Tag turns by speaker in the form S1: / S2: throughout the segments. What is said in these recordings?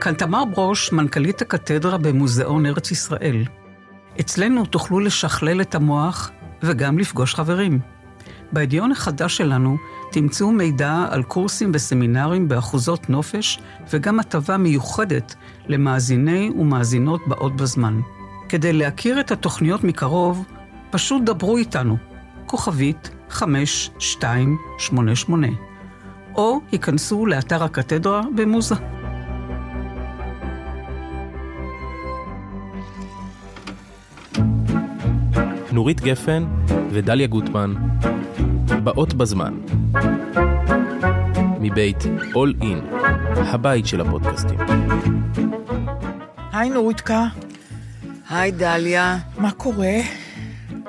S1: כאן תמר ברוש, מנכ"לית הקתדרה במוזיאון ארץ ישראל. אצלנו תוכלו לשכלל את המוח וגם לפגוש חברים. בהדיון החדש שלנו תמצאו מידע על קורסים וסמינרים באחוזות נופש וגם הטבה מיוחדת למאזיני ומאזינות באות בזמן. כדי להכיר את התוכניות מקרוב, פשוט דברו איתנו, כוכבית 5288, או היכנסו לאתר הקתדרה במוזה.
S2: נורית גפן ודליה גוטמן, באות בזמן, מבית All In, הבית של הפודקאסטים.
S3: היי נורתקה,
S4: היי דליה,
S3: מה קורה?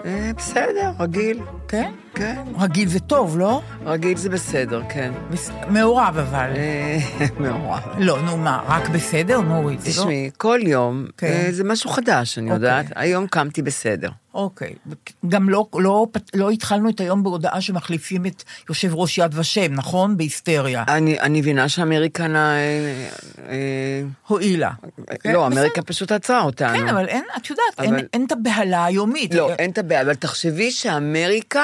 S4: אה, בסדר, רגיל,
S3: כן?
S4: כן.
S3: רגיל זה טוב, לא?
S4: רגיל זה בסדר, כן.
S3: בס- מעורב אבל.
S4: אה, מעורב.
S3: לא, נו מה, רק בסדר, נורית? זה לא-
S4: תשמעי, כל יום
S3: כן.
S4: אה, זה משהו חדש, אני
S3: אוקיי.
S4: יודעת. היום קמתי בסדר.
S3: אוקיי. גם לא, לא, פת- לא התחלנו את היום בהודעה שמחליפים את יושב ראש יד ושם, נכון? בהיסטריה.
S4: אני אני מבינה שאמריקנה... אה, אה,
S3: הועילה. כן,
S4: לא,
S3: בסדר.
S4: אמריקה פשוט עצרה אותנו.
S3: כן, אבל אין, את יודעת, אין-
S4: אבל-
S3: אין את הבהלה היומית.
S4: לא,
S3: אה,
S4: אין את הבעיה, אבל תחשבי שאמריקה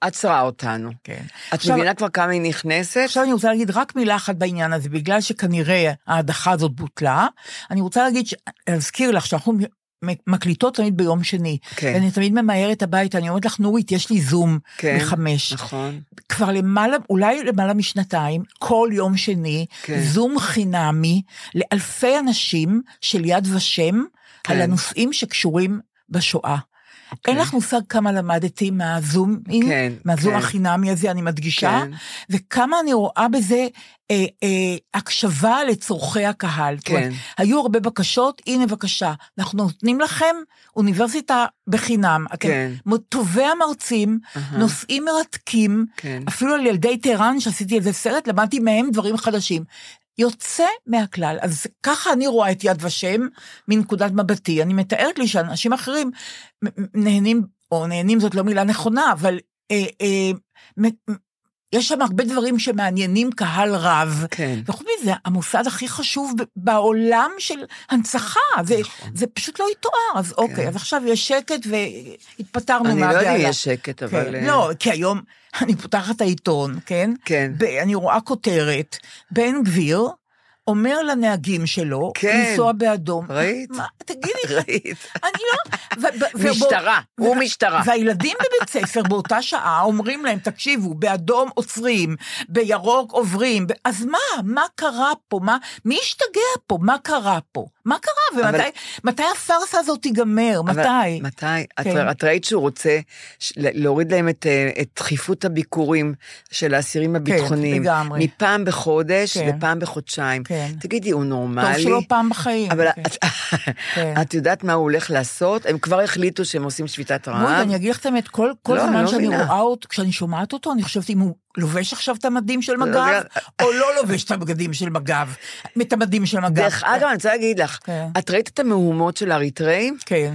S4: עצרה אותנו.
S3: כן.
S4: את
S3: עכשיו-
S4: מבינה כבר כמה היא נכנסת?
S3: עכשיו אני רוצה להגיד רק מילה אחת בעניין הזה, בגלל שכנראה ההדחה הזאת בוטלה, אני רוצה להגיד, ש- להזכיר לך שאנחנו מ- מקליטות תמיד ביום שני,
S4: כן.
S3: ואני תמיד ממהרת הביתה, אני אומרת לך, נורית, יש לי זום
S4: כן,
S3: בחמש.
S4: נכון.
S3: כבר למעלה, אולי למעלה משנתיים, כל יום שני,
S4: כן.
S3: זום חינמי לאלפי אנשים של יד ושם,
S4: כן. אוקיי.
S3: על הנושאים שקשורים בשואה. אין לך מושג כמה למדתי מהזום,
S4: כן,
S3: מהזום
S4: כן.
S3: החינמי הזה, אני מדגישה,
S4: כן.
S3: וכמה אני רואה בזה אה, אה, הקשבה לצורכי הקהל. זאת אומרת,
S4: כן.
S3: היו הרבה בקשות, הנה בבקשה, אנחנו נותנים לכם אוניברסיטה בחינם. אתם
S4: כן. אה.
S3: טובי המרצים,
S4: אהה.
S3: נושאים מרתקים,
S4: כן.
S3: אפילו על ילדי טהרן, שעשיתי איזה סרט, למדתי מהם דברים חדשים. יוצא מהכלל, אז ככה אני רואה את יד ושם מנקודת מבטי. אני מתארת לי שאנשים אחרים מ- מ- נהנים, או נהנים זאת לא מילה נכונה, אבל אה, אה, מ- מ- יש שם הרבה דברים שמעניינים קהל רב.
S4: כן.
S3: וחוץ מזה, המוסד הכי חשוב ב- בעולם של הנצחה, זה,
S4: נכון.
S3: זה פשוט לא יתואר. אז אוקיי, אז עכשיו יש שקט והתפטרנו
S4: כן. אני
S3: מהבעיה.
S4: לא יודעת אם יש שקט,
S3: כן,
S4: אבל... אה,
S3: לא, כי היום אני פותחת את העיתון, כן?
S4: כן.
S3: ב- אני רואה כותרת, בן גביר אומר לנהגים שלו,
S4: כן.
S3: לנסוע באדום.
S4: ראית?
S3: מה, תגידי,
S4: ראית?
S3: אני לא... ו- ו- ובו-
S4: משטרה,
S3: ו-
S4: הוא משטרה.
S3: והילדים בבית ספר באותה שעה אומרים להם, תקשיבו, באדום עוצרים, בירוק עוברים, ב- אז מה, מה קרה פה? מה, מי השתגע פה? מה קרה פה? מה קרה?
S4: אבל-
S3: ומתי מתי הפארסה הזאת תיגמר?
S4: אבל-
S3: מתי?
S4: מתי? את,
S3: כן.
S4: את ראית שהוא רוצה ש- ל- להוריד להם את, אה, את דחיפות הביקורים של האסירים הביטחוניים.
S3: כן, לגמרי.
S4: מפעם בחודש
S3: כן.
S4: ופעם בחודשיים.
S3: כן.
S4: תגידי, הוא נורמלי?
S3: טוב שלא פעם בחיים.
S4: אבל
S3: כן.
S4: את,
S3: כן.
S4: את יודעת מה הוא הולך לעשות? הם כבר החליטו שהם עושים שביתת
S3: מוד,
S4: רעב.
S3: אני אגיד לך את האמת, כל, כל
S4: לא, אני
S3: זמן
S4: לא
S3: שאני
S4: מבינה.
S3: רואה אותו, כשאני שומעת אותו, אני חושבת אם הוא לובש עכשיו את המדים של
S4: לא
S3: מג"ב,
S4: יודע.
S3: או לא לובש את הבגדים של מג"ב, את המדים של מג"ב.
S4: דרך אגב, אני רוצה להגיד לך,
S3: כן.
S4: את ראית את המהומות של האריתראים?
S3: כן.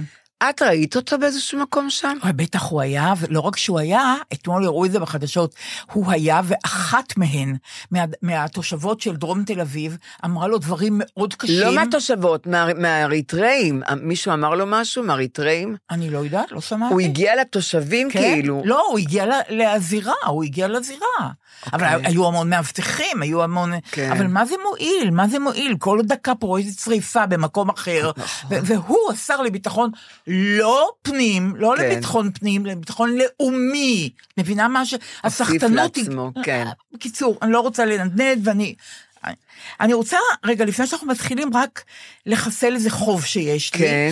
S4: את ראית אותו באיזשהו מקום שם?
S3: אבל בטח הוא היה, ולא רק שהוא היה, אתמול הראו את זה בחדשות, הוא היה ואחת מהן, מה, מהתושבות של דרום תל אביב, אמרה לו דברים מאוד קשים.
S4: לא מהתושבות, מה- מהאריתראים. מישהו אמר לו משהו מהאריתראים?
S3: אני לא יודעת, לא שמעתי.
S4: הוא הגיע לתושבים
S3: כן?
S4: כאילו.
S3: לא, הוא הגיע ל- לזירה, הוא הגיע לזירה. אבל היו המון מאבטחים, היו המון...
S4: אוקיי. כן.
S3: אבל מה זה מועיל? מה זה מועיל? כל דקה פה איזה צריפה במקום אחר.
S4: נכון.
S3: ו- והוא השר לביטחון, לא פנים, לא
S4: כן.
S3: לביטחון פנים, לביטחון לאומי. מבינה מה ש... הסחטנות היא...
S4: לעצמו, כן.
S3: בקיצור, אני לא רוצה לנדנד, ואני... אני רוצה, רגע, לפני שאנחנו מתחילים, רק לחסל איזה חוב שיש לי.
S4: כן.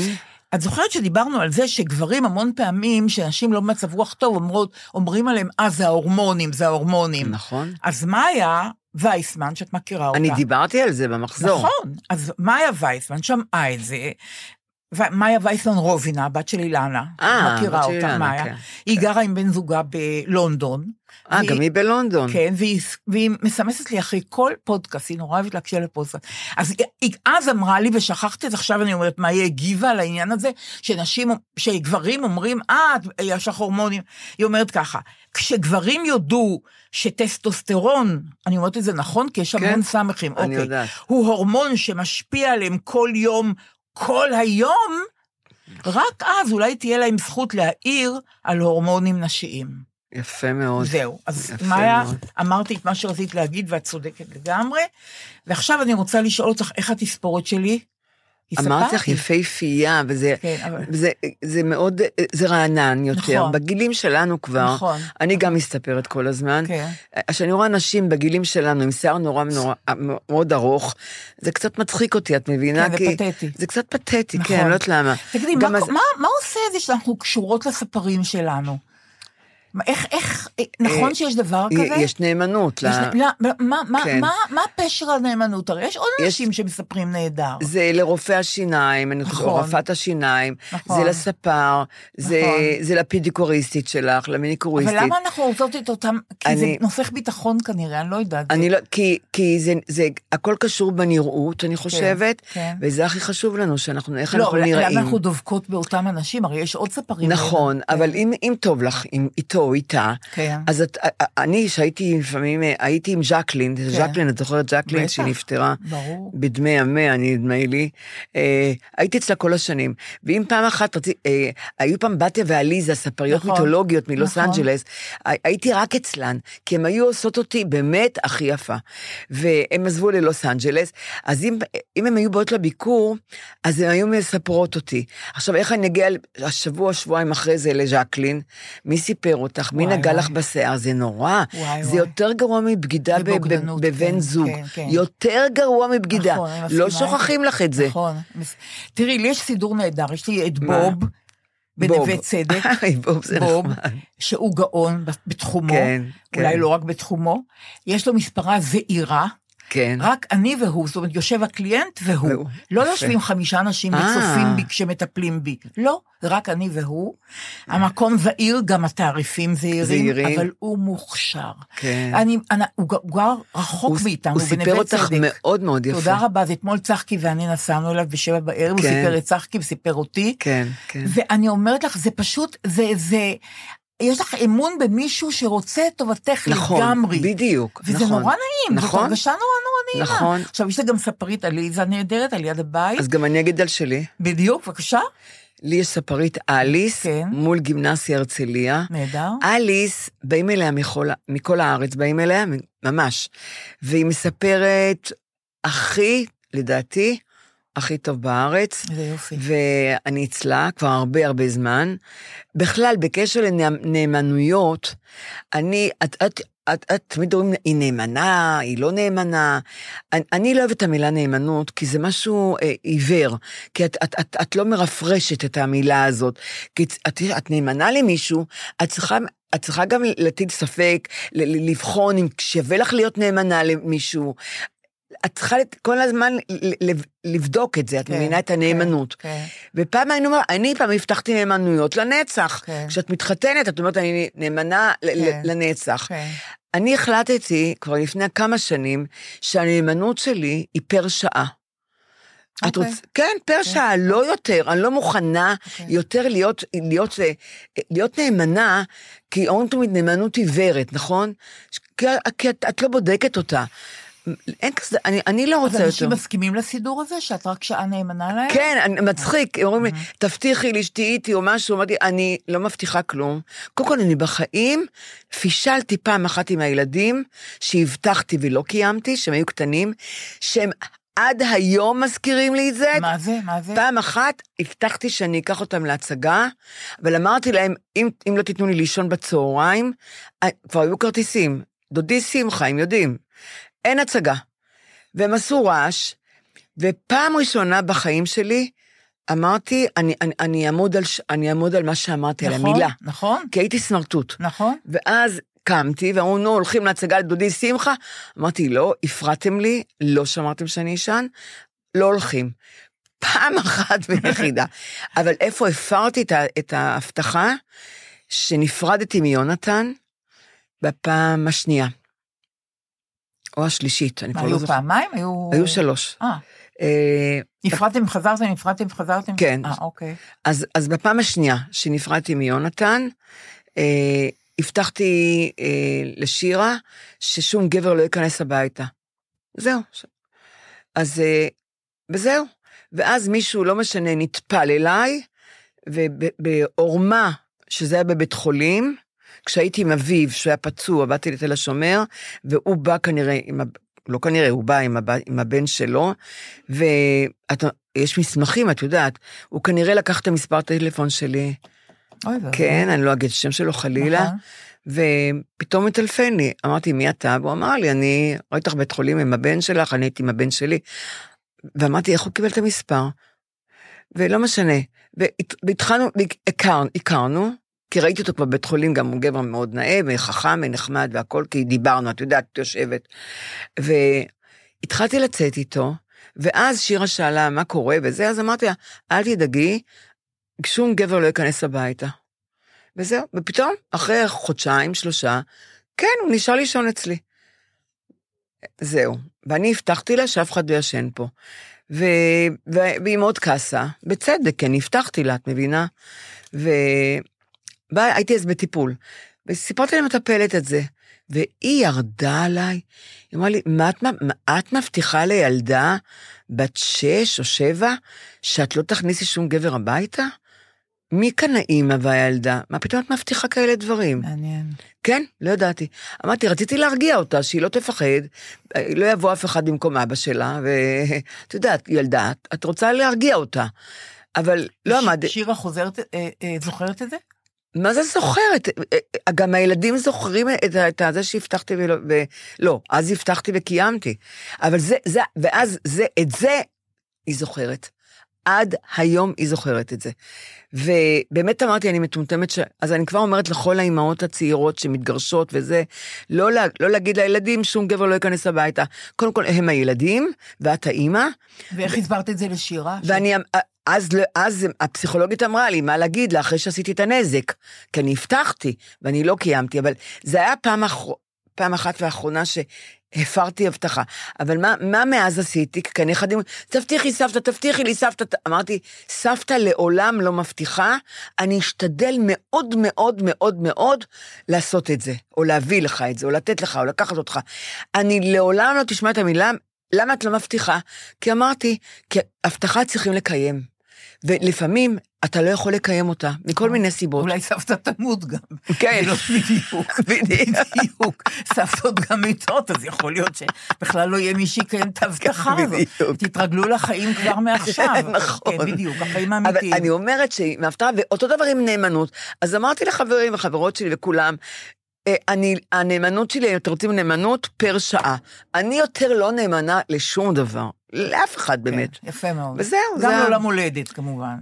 S3: את זוכרת שדיברנו על זה שגברים המון פעמים, שאנשים לא במצב רוח טוב, אומרות, אומרים עליהם, אה, זה ההורמונים, זה ההורמונים.
S4: נכון.
S3: אז מאיה וייסמן, שאת מכירה אותה.
S4: אני דיברתי על זה במחזור.
S3: נכון, אז מאיה וייסמן שמעה את זה, ו- מאיה וייסמן רובינה, הבת של אילנה,
S4: אה,
S3: מכירה
S4: הבת של
S3: אותה,
S4: אילנה,
S3: מאיה.
S4: כן.
S3: היא גרה עם בן זוגה בלונדון.
S4: אה,
S3: והיא-
S4: גם היא בלונדון.
S3: כן, והיא, והיא מסמסת לי אחרי כל פודקאסט, היא נורא אוהבת להקשיב לפודקאסט. אז היא- היא אז אמרה לי, ושכחתי, אז עכשיו אני אומרת מה היא הגיבה על העניין הזה, שנשים, שגברים אומרים, אה, את- יש לך הורמונים. היא אומרת ככה, כשגברים יודו שטסטוסטרון, אני אומרת את זה נכון? כי יש
S4: כן,
S3: המון סמכים,
S4: אני
S3: אוקיי.
S4: יודעת.
S3: הוא הורמון שמשפיע עליהם כל יום, כל היום, רק אז אולי תהיה להם זכות להעיר על הורמונים נשיים.
S4: יפה מאוד.
S3: זהו, אז
S4: יפה
S3: מאיה,
S4: מאוד.
S3: אמרתי את מה שרצית להגיד ואת צודקת לגמרי. ועכשיו אני רוצה לשאול אותך איך התספורת שלי. היא
S4: אמרתי
S3: ספרת
S4: לך
S3: לי.
S4: יפהפייה, וזה
S3: כן, אבל...
S4: זה, זה מאוד, זה רענן יותר.
S3: נכון.
S4: בגילים שלנו כבר,
S3: נכון.
S4: אני גם מסתפרת כל הזמן. אה,
S3: כן.
S4: כשאני רואה נשים בגילים שלנו עם שיער נורא נורא, אה, מאוד ארוך, זה קצת מצחיק אותי, את מבינה?
S3: כן, זה
S4: כי-
S3: פתטי.
S4: זה קצת פתטי,
S3: נכון.
S4: כן, אני לא יודעת למה.
S3: תגידי,
S4: גם
S3: מה,
S4: אז-
S3: מה, מה עושה את זה שאנחנו קשורות לספרים שלנו? מה, איך, איך, נכון
S4: אה,
S3: שיש דבר
S4: י-
S3: כזה?
S4: יש נאמנות. ל-
S3: יש- לא, מה- מה-
S4: כן.
S3: מה- מה פשר הנאמנות? הרי יש עוד
S4: יש-
S3: אנשים שמספרים נהדר.
S4: זה לרופא השיניים, אני חושבת, או
S3: נכון.
S4: רפת השיניים,
S3: נכון.
S4: זה לספר, זה-
S3: נכון.
S4: זה לפידיקוריסטית שלך,
S3: אבל
S4: למיניקוריסטית.
S3: למה אנחנו רוצות את אותם, כי זה
S4: אני-
S3: נופך ביטחון כנראה, אני לא יודעת.
S4: אני לא, כי, כי זה, זה, הכל קשור בנראות, אני חושבת,
S3: כן.
S4: וזה הכי חשוב לנו, שאנחנו, איך
S3: לא,
S4: אנחנו
S3: אבל
S4: נראים.
S3: למה אנחנו כן. דובקות באותם אנשים? הרי יש עוד ספרים.
S4: נכון,
S3: האלה.
S4: אבל אם, אם טוב לך עם, איתו או איתה,
S3: כן.
S4: אז את, אני, שהייתי לפעמים, אה, הייתי עם ז'קלין, ז'קלין, את זוכרת ז'קלין
S3: כן. בטח.
S4: שהיא נפטרה?
S3: ברור.
S4: בדמי המאה, אני- נדמה לי. אה, הייתי אצלה כל השנים. ואם פעם אחת, רצי, אה, היו פעם בתיה ועליזה, ספריות
S3: נכון.
S4: מיתולוגיות מלוס
S3: נכון.
S4: אנג'לס, הי- הייתי רק אצלן, כי הן היו עושות אותי באמת הכי יפה. והן עזבו ללוס אנג'לס, אז אם, אם הן היו באות לביקור, אז הן היו מספרות אותי. עכשיו, איך אני אגיע השבוע, שבועיים אחרי זה לז'קלין? מי סיפר אותך? מי
S3: וואי,
S4: נגע
S3: וואי.
S4: לך בשיער? זה נורא.
S3: וואי,
S4: זה
S3: וואי.
S4: יותר גרוע מבגידה ב- ב-
S3: ובוגדנות, כן,
S4: בבן זוג.
S3: כן, כן.
S4: יותר גרוע מבגידה.
S3: נכון, אני מסכימה
S4: לא שוכחים לך את זה.
S3: נכון. מס- תראי, לי יש סידור נהדר, יש לי את
S4: מה?
S3: בוב, בנווה צדק,
S4: היי, בוב זה
S3: בוב,
S4: נחמד.
S3: שהוא גאון ב- בתחומו,
S4: כן, כן.
S3: אולי לא רק בתחומו, יש לו מספרה זעירה,
S4: כן.
S3: רק אני והוא, זאת אומרת, יושב הקליינט והוא.
S4: והוא,
S3: לא
S4: יפה.
S3: יושבים חמישה אנשים
S4: אה.
S3: וצופים בי כשמטפלים בי. לא, רק אני והוא. המקום זעיר, גם התעריפים זעירים,
S4: זעירים.
S3: אבל הוא מוכשר.
S4: כן.
S3: אני, אני, הוא ג- הוא גר רחוק
S4: הוא-
S3: מאיתנו,
S4: הוא
S3: הוא בנווה צדק.
S4: סיפר אותך מאוד מאוד יפה.
S3: תודה רבה, אז אתמול צחקי ואני נסענו אליו בשבע בערב, הוא
S4: כן.
S3: סיפר את צחקי וסיפר אותי.
S4: כן, כן.
S3: ואני אומרת לך, זה פשוט, זה, זה, יש לך אמון במישהו שרוצה את טובתך
S4: נכון,
S3: לגמרי.
S4: בדיוק,
S3: וזה
S4: נכון.
S3: נורא נעים, זאת
S4: נכון.
S3: הרגשה נורא נורא נעימה. אוקיי.
S4: נכון.
S3: עכשיו, יש לי גם ספרית עליזה נהדרת על יד הבית.
S4: אז גם אני אגיד על שלי.
S3: בדיוק, בבקשה.
S4: לי יש ספרית אליס
S3: כן. נכון.
S4: מול גימנסיה הרצליה.
S3: נהדר.
S4: אה, אליס, באים אליה מכל, מכל הארץ, באים אליה ממש. והיא מספרת הכי, לדעתי, הכי טוב בארץ.
S3: זה יופי.
S4: ואני אצלה כבר הרבה הרבה זמן. בכלל, בקשר לנאמנויות, אני, את, את, את, את תמיד אומרים, היא נאמנה, היא לא נאמנה. אני, אני לא אוהבת את המילה נאמנות, כי זה משהו אה, עיוור, כי את, את, את, את לא מרפרשת את המילה הזאת. כי את, את, את נאמנה למישהו, את צריכה... את צריכה גם להטיל ספק, ל- ל- לבחון אם שווה לך להיות נאמנה למישהו. את צריכה לת- כל הזמן ל- ל- לבדוק את זה, את
S3: כן,
S4: מבינה את הנאמנות.
S3: כן,
S4: ופעם היינו, אומר- אני פעם הבטחתי נאמנויות לנצח.
S3: כן.
S4: כשאת מתחתנת, את אומרת, אני נאמנה ל-
S3: כן.
S4: ל- לנצח.
S3: כן.
S4: אני החלטתי כבר לפני כמה שנים שהנאמנות שלי היא פר שעה. את
S3: אוקיי.
S4: רוצה, כן, פר שעה, לא יותר, אני לא מוכנה
S3: אוקיי.
S4: יותר להיות, להיות, אה, להיות נאמנה, כי אומרים תמיד נאמנות עיוורת, נכון? ש- כי, כי את, את לא בודקת אותה. אין כזה, אני, אני לא
S3: אז
S4: רוצה
S3: אנשים
S4: יותר.
S3: מסכימים לסידור הזה, שאת רק שעה נאמנה להם?
S4: כן, אני- מצחיק, אומרים לי, תבטיחי לי שתהיי איתי או משהו, אמרתי, אני לא מבטיחה כלום. קודם כל, אני בחיים פישלתי פעם אחת עם הילדים, שהבטחתי ולא קיימתי, שהם היו קטנים, שהם עד היום מזכירים לי את זה.
S3: מה זה? מה זה?
S4: כן. פעם אחת הבטחתי שאני אקח אותם להצגה, אבל אמרתי להם, אם, אם לא תיתנו לי לישון בצהריים, אה, כבר היו כרטיסים. דודי שמחה, הם יודעים. אין הצגה. והם עשו רעש, ופעם ראשונה בחיים שלי אמרתי, אני, אני, אני, אעמוד, על, ש- אני אעמוד על מה שאמרתי, על
S3: נכון,
S4: המילה.
S3: נכון,
S4: כי הייתי סמרטוט.
S3: נכון.
S4: ואז קמתי, ואמרו, נו, הולכים להצגה לדודי שמחה. אמרתי, לא, הפרעתם לי, לא שמרתם שאני אשן, לא הולכים. פעם אחת ויחידה. אבל איפה הפרתי את, ה- את ההבטחה? שנפרדתי מיונתן בפעם השנייה. או השלישית, אני
S3: מה,
S4: כבר לא
S3: היו
S4: זוכרת.
S3: פעמיים? היו...
S4: היו שלוש.
S3: אה,
S4: אה,
S3: נפרדתם, חזרתם, נפרדתם, חזרתם?
S4: כן.
S3: אה, אוקיי.
S4: אז, אז בפעם השנייה שנפרדתי מיונתן, אה, הבטחתי אה, לשירה ששום גבר לא ייכנס הביתה. זהו. ש- אז, אה, וזהו. ואז מישהו, לא משנה, נטפל אליי, ובעורמה, שזה היה בבית חולים, כשהייתי עם אביו, שהוא היה פצוע, באתי לתל השומר, והוא בא כנראה עם... הב- לא כנראה, הוא בא עם, הב... עם הבן שלו, ויש מסמכים, את יודעת, הוא כנראה לקח את המספר הטלפון שלי,
S3: אוי, זה-
S4: כן, אני לא אגיד את השם שלו חלילה,
S3: נכון.
S4: ופתאום מטלפן לי, אמרתי, מי אתה? והוא אמר לי, אני ראיתי אותך בבית חולים עם הבן שלך, אני הייתי עם הבן שלי. ואמרתי, איך הוא קיבל את המספר? ולא משנה. והת- והתחלנו, הכרנו, הכרנו, כי ראיתי אותו כבר בבית חולים, גם הוא גבר מאוד נאה וחכם ונחמד והכל, כי דיברנו, את יודעת, את יושבת. והתחלתי לצאת איתו, ואז שירה שאלה, מה קורה וזה, אז אמרתי לה, אל תדאגי, שום גבר לא ייכנס הביתה. וזהו, ופתאום, אחרי חודשיים, שלושה, כן, הוא נשאר לישון אצלי. זהו. ואני הבטחתי לה שאף אחד לא ישן פה. ו... ו... והיא מאוד כעסה, בצדק, כי אני הבטחתי לה, את מבינה? ו... בא- הייתי אז בטיפול, וסיפרתי למטפלת את זה, והיא ירדה עליי, היא אמרה לי, מה את, מ- מה את מבטיחה לילדה בת שש או שבע, שאת לא תכניסי שום גבר הביתה? מי כאן האימא והילדה? מה פתאום את מבטיחה כאלה דברים?
S3: מעניין.
S4: כן, לא ידעתי. אמרתי, רציתי להרגיע אותה, שהיא לא תפחד, אה, לא יבוא אף אחד במקום אבא שלה, ואת יודעת, ילדה, את- את רוצה להרגיע אותה. אבל לא
S3: ש-
S4: עמד...
S3: שירה חוזרת, אה, אה, זוכרת את זה?
S4: מה זה זוכרת? אה, גם הילדים זוכרים את, ה- את ה- זה שהבטחתי ולא... ו... לא, אז הבטחתי וקיימתי. אבל זה, זה, ואז זה, את זה היא זוכרת. עד היום היא זוכרת את זה. ובאמת אמרתי, אני מטומטמת, ש... אז אני כבר אומרת לכל האימהות הצעירות שמתגרשות וזה, לא, לה, לא להגיד לילדים, שום גבר לא ייכנס הביתה. קודם כל, הם הילדים, ואת האימא,
S3: ואיך הסברת את זה לשירה?
S4: ואני, אז, לא- אז הפסיכולוגית אמרה לי מה להגיד לה אחרי שעשיתי את הנזק, כי אני הבטחתי ואני לא קיימתי, אבל זה היה פעם, אחר, פעם אחת ואחרונה שהפרתי הבטחה. אבל מה, מה מאז עשיתי? כי כאן אחד אמרו, תבטיחי סבתא, תבטיחי לי סבתא. ת-" אמרתי, סבתא לעולם לא מבטיחה, אני אשתדל מאוד מאוד מאוד מאוד לעשות את זה, או להביא לך את זה, או לתת לך, או לקחת אותך. אני לעולם לא תשמע את המילה למה את לא מבטיחה? כי אמרתי, כי הבטחה צריכים לקיים. ולפעמים אתה לא יכול לקיים אותה, מכל מיני סיבות.
S3: אולי סבתא תמות גם.
S4: כן,
S3: לא בדיוק.
S4: בדיוק.
S3: בדיוק. סבתות גם מתות, אז יכול להיות שבכלל לא יהיה מי שיקיים את ההבטחה הזאת.
S4: בדיוק.
S3: תתרגלו לחיים כבר מעכשיו.
S4: נכון.
S3: כן, בדיוק, החיים
S4: אבל
S3: האמיתיים.
S4: אני אומרת שהיא מהפתעה, ואותו דבר עם נאמנות. אז אמרתי לחברים וחברות שלי וכולם, "אה, אני, הנאמנות שלי, אם אתם רוצים נאמנות, פר שעה. אני יותר לא נאמנה לשום דבר, לאף אחד
S3: כן,
S4: באמת.
S3: יפה מאוד.
S4: וזהו,
S3: גם
S4: זה ה-
S3: לא למולדת, כמובן.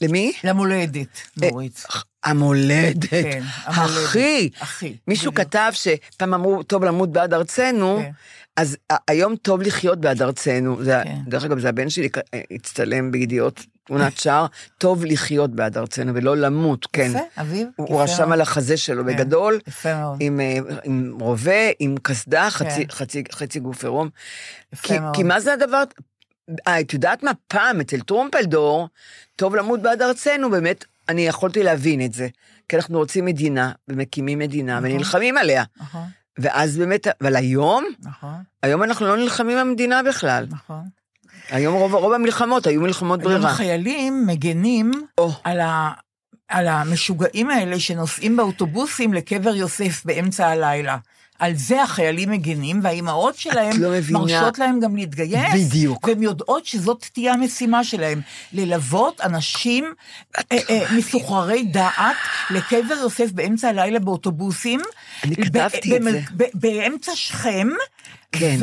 S4: למי?
S3: למולדת, נורית.
S4: אה, המולדת.
S3: כן, המולדת.
S4: אחי,
S3: אחי.
S4: מישהו
S3: בדיוק.
S4: כתב שפעם אמרו, טוב למות בעד ארצנו,
S3: כן.
S4: אז ה- היום טוב לחיות בעד ארצנו. זה, ה-
S3: כן.
S4: דרך אגב, זה הבן שלי אה, הצטלם בידיעות תמונת שער, טוב לחיות בעד ארצנו ולא למות, כן.
S3: יפה, אביב.
S4: הוא
S3: יפה
S4: הוא רשם
S3: מאוד.
S4: על החזה שלו
S3: כן,
S4: בגדול,
S3: יפה מאוד.
S4: עם, אה, עם רובה, עם
S3: כן.
S4: קסדה, חצי, חצי, חצי גוף עירום.
S3: יפה
S4: כי,
S3: מאוד.
S4: כי מה זה הדבר? אה, את יודעת מה? פעם אצל טרומפלדור, טוב למות בעד ארצנו, באמת, אני יכולתי להבין את זה. כי אנחנו רוצים מדינה, ומקימים מדינה,
S3: נכון.
S4: ונלחמים עליה.
S3: נכון,
S4: ואז באמת, אבל היום,
S3: נכון,
S4: היום אנחנו לא נלחמים במדינה בכלל.
S3: נכון.
S4: היום רוב, רוב המלחמות היו מלחמות
S3: גם
S4: ברירה.
S3: החיילים מגנים
S4: או,
S3: על ה... על המשוגעים האלה שנוסעים באוטובוסים לקבר יוסף באמצע הלילה. על זה החיילים מגינים, והאימהות שלהם
S4: לא מבינה.
S3: מרשות להם גם להתגייס.
S4: בדיוק.
S3: והן יודעות שזאת תהיה המשימה שלהם, ללוות אנשים אה, אה, מסוחררי דעת לקבר יוסף באמצע הלילה באוטובוסים.
S4: אני
S3: ב-
S4: כתבתי את
S3: במל-
S4: זה.
S3: ב- באמצע שכם,
S4: כן.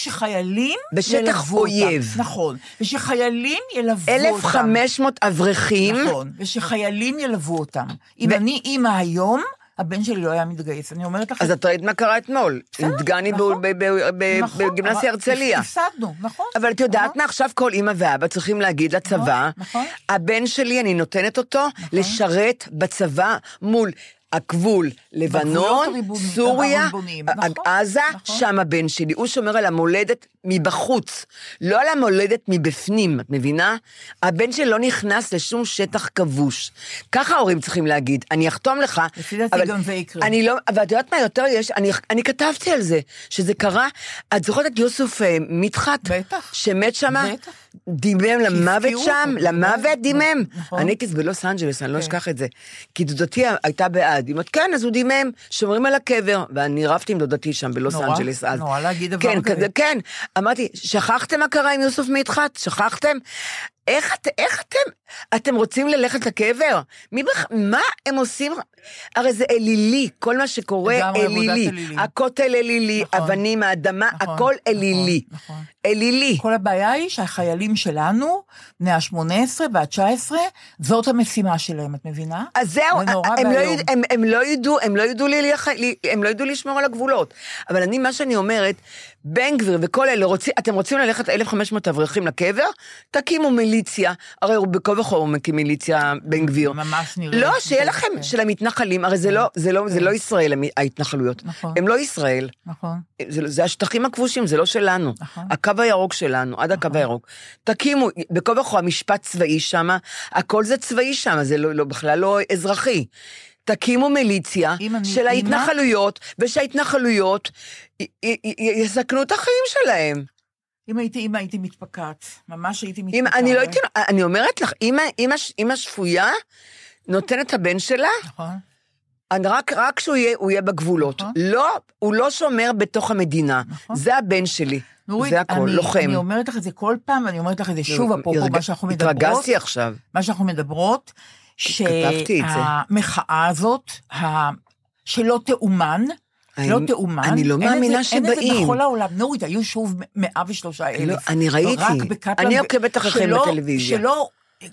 S3: ושחיילים
S4: בשטח
S3: ילוו אותם.
S4: אויב.
S3: נכון, ושחיילים ילוו אותם.
S4: 1,500 אברכים,
S3: נכון, ושחיילים ילוו אותם. אם אני אימא היום, הבן שלי לא היה מתגייס. אני אומרת לכם...
S4: אז את ראית מה קרה אתמול, עם
S3: בסדר,
S4: דגני ב-
S3: נכון.
S4: ב- ב- ב-
S3: נכון,
S4: בגימנסיה
S3: אבל
S4: הרצליה.
S3: הפסדנו, נכון.
S4: אבל את יודעת
S3: נכון.
S4: מה, עכשיו כל אימא ואבא צריכים להגיד לצבא,
S3: נכון.
S4: הבן שלי, אני נותנת אותו לשרת בצבא מול הגבול
S3: בגבולות
S4: לבנון,
S3: הריבוניים,
S4: סוריה,
S3: הריבוניים,
S4: ע-
S3: נכון,
S4: עזה,
S3: נכון.
S4: שם הבן שלי. הוא שומר על המולדת מבחוץ, לא על המולדת מבפנים, את מבינה? הבן שלי לא נכנס לשום שטח כבוש. ככה ההורים צריכים להגיד, אני אחתום לך.
S3: לפי דעתי
S4: אבל
S3: גם זה יקרה.
S4: אני לא, ואת יודעת מה יותר יש, אני, אני כתבתי על זה, שזה קרה, את זוכרת את יוסוף אה, מדחת?
S3: בטח.
S4: שמת שם?
S3: בטח.
S4: דימם למוות
S3: שהפקיעו
S4: שם,
S3: אותו,
S4: למוות
S3: נכון,
S4: דימם.
S3: נכון.
S4: אני הייתי בלוס אנג'לס, אני לא
S3: כן.
S4: אשכח את זה. כי דודתי הייתה בעד. היא אומרת, כן, אז הוא דימם, שומרים על הקבר. ואני רבתי עם דודתי שם בלוס
S3: נורא,
S4: אנג'לס אז.
S3: נורא להגיד דבר
S4: כן,
S3: כזה.
S4: כזה. כן, אמרתי, שכחתם מה קרה עם יוסוף מדחת? שכחתם? איך, את, איך אתם, אתם רוצים ללכת לקבר? מי בכ... מה הם עושים? הרי זה אלילי, כל מה שקורה
S3: לגמרי, עבודת
S4: אלילי.
S3: אלילים.
S4: הכותל אלילי,
S3: נכון.
S4: אבנים, האדמה,
S3: נכון,
S4: הכל
S3: נכון,
S4: אלילי.
S3: נכון.
S4: אלילי.
S3: כל הבעיה היא שהחיילים שלנו, בני ה-18 וה-19, זאת המשימה שלהם, את מבינה?
S4: אז זהו,
S3: זה נורא
S4: הם לא,
S3: ואיום.
S4: יד, הם, הם לא ידעו, הם לא ידעו לי, לח- לי, הם לא ידעו לשמור על הגבולות. אבל אני, מה שאני אומרת, בן גביר וכל אלה, רוצים, אתם רוצים ללכת 1,500 אברכים לקבר? תקימו מיליציה. הרי הוא בכה וכה הוא מקים מיליציה, בן גביר.
S3: ממש נראה.
S4: לא, שיהיה
S3: כן,
S4: לכם,
S3: כן.
S4: של המתנחלים, הרי זה לא, זה לא, זה לא ישראל, המ- ההתנחלויות.
S3: נכון.
S4: הם לא ישראל.
S3: נכון.
S4: זה, זה השטחים הכבושים, זה לא שלנו.
S3: נכון.
S4: הקו הירוק שלנו, עד הקו הירוק. תקימו, בכל וכה המשפט צבאי שם, הכל זה צבאי שם, זה לא, לא, בכלל לא אזרחי. תקימו מיליציה
S3: אם אני
S4: של
S3: אימא-
S4: ההתנחלויות, ושההתנחלויות י- י- י- יסכנו את החיים שלהם.
S3: אם הייתי אימא, הייתי מתפקעת. ממש הייתי
S4: אם,
S3: מתפקעת.
S4: אני לא הייתי, אני אומרת לך, אימא, אימא, אימא שפויה נותנת את הבן שלה,
S3: נכון.
S4: אני רק, רק שהוא יהיה, הוא יהיה בגבולות.
S3: נכון.
S4: לא, הוא לא שומר בתוך המדינה.
S3: נכון.
S4: זה הבן שלי.
S3: נורית,
S4: זה הכל,
S3: אני,
S4: לוחם. לא,
S3: אני אומרת לך את זה כל פעם, ואני אומרת לך את זה שוב, אפרופו
S4: כאילו, הרג-
S3: מה שאנחנו מדברות.
S4: התרגזתי עכשיו.
S3: מה שאנחנו מדברות,
S4: כתבתי את זה.
S3: שהמחאה הזאת, ה... שלא תאומן,
S4: אני-
S3: לא תאומן.
S4: אני לא
S3: אין את זה-
S4: מאמינה
S3: אין את זה
S4: שבאים.
S3: בכל העולם. נורית, היו שוב 103 אלף.
S4: לא, אני ראיתי.
S3: רק בקפלן.
S4: אני
S3: ו-
S4: עוקבת אחריכם
S3: שלא-
S4: בטלוויזיה.
S3: שלא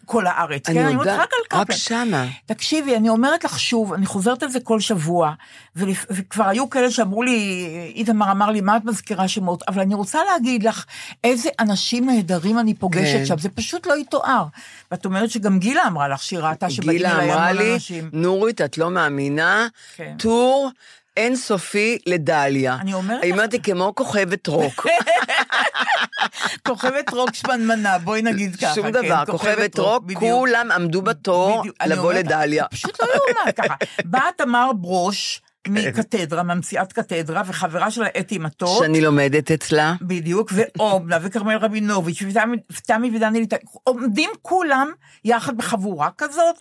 S3: כל הארץ.
S4: אני
S3: כן, אני אומרת
S4: יודעת,
S3: רק על
S4: רק
S3: קפלן.
S4: שמה.
S3: תקשיבי, אני אומרת לך שוב, אני חוזרת על זה כל שבוע, ולפ... וכבר היו כאלה שאמרו לי, איתמר אמר לי, מה את מזכירה שמות? אבל אני רוצה להגיד לך, איזה אנשים נהדרים אני פוגשת
S4: כן.
S3: שם, זה פשוט לא יתואר. ואת אומרת שגם גילה אמרה לך שהיא ראתה שבאים
S4: גילה
S3: אליי
S4: אמרה
S3: המון
S4: לי,
S3: אנשים.
S4: נורית, את לא מאמינה,
S3: כן.
S4: טור אינסופי לדליה.
S3: אני אומרת
S4: היא
S3: לך-
S4: אומרת לי, כמו כוכבת רוק.
S3: כוכבת רוק שמנמנה, בואי נגיד ככה.
S4: שום
S3: כן,
S4: דבר, כוכבת רוק,
S3: בדיוק.
S4: כולם עמדו בתור
S3: בדיוק, אני
S4: לבוא
S3: אומרת,
S4: לדליה.
S3: זה פשוט לא יאומן ככה. באה תמר ברוש
S4: כן.
S3: מקתדרה, ממציאת קתדרה, וחברה שלה אתי מטות.
S4: שאני לומדת אצלה.
S3: בדיוק, ואומנה וכרמל רבינוביץ' ותמי- ותמי ודני ליטא, עומדים כולם יחד בחבורה כזאת,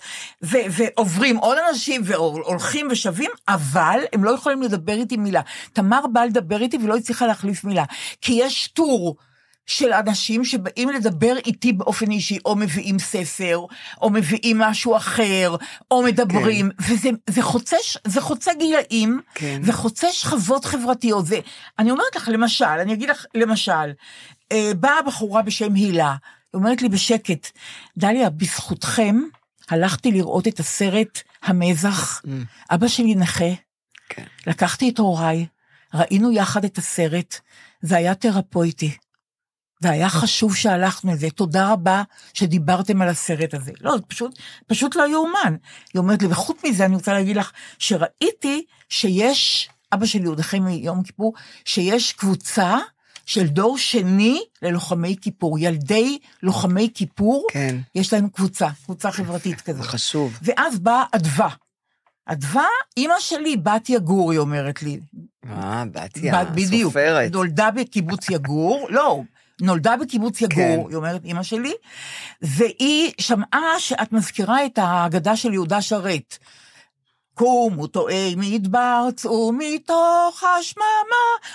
S3: ו- ועוברים עוד אנשים והולכים ושבים, אבל הם לא יכולים לדבר איתי מילה. תמר באה לדבר איתי ולא הצליחה להחליף מילה, כי יש טור. של אנשים שבאים לדבר איתי באופן אישי, או מביאים ספר, או מביאים משהו אחר, או מדברים, כן. וזה זה חוצה, ש- זה חוצה גילאים,
S4: כן.
S3: זה חוצה שכבות חברתיות. זה, אני אומרת לך, למשל, אני אגיד לך, למשל, אה, באה בחורה בשם הילה, היא אומרת לי בשקט, דליה, בזכותכם הלכתי לראות את הסרט המזח, אבא שלי נכה,
S4: Mm. כן.
S3: לקחתי את הוריי, ראינו יחד את הסרט, זה היה תרפויטי. והיה
S4: כן.
S3: חשוב שהלכנו לזה, תודה רבה שדיברתם על הסרט הזה. לא, זה פשוט, פשוט לא יאומן. היא אומרת לי, וחוץ מזה אני רוצה להגיד לך, שראיתי שיש, אבא שלי הוא נכה מיום כיפור, שיש קבוצה של דור שני ללוחמי כיפור, ילדי לוחמי כיפור,
S4: כן.
S3: יש להם קבוצה, קבוצה חברתית כזאת.
S4: זה חשוב.
S3: ואז באה אדווה. אדווה, אימא שלי, בת יגור, היא אומרת לי.
S4: אה, בתיה,
S3: בת בדיוק.
S4: סופרת.
S3: נולדה בקיבוץ יגור, לא, נולדה בקיבוץ יגור,
S4: כן.
S3: היא אומרת, אימא שלי, והיא שמעה שאת מזכירה את ההגדה של יהודה שרת. קומו טועי מדבר, צאו מתוך השממה,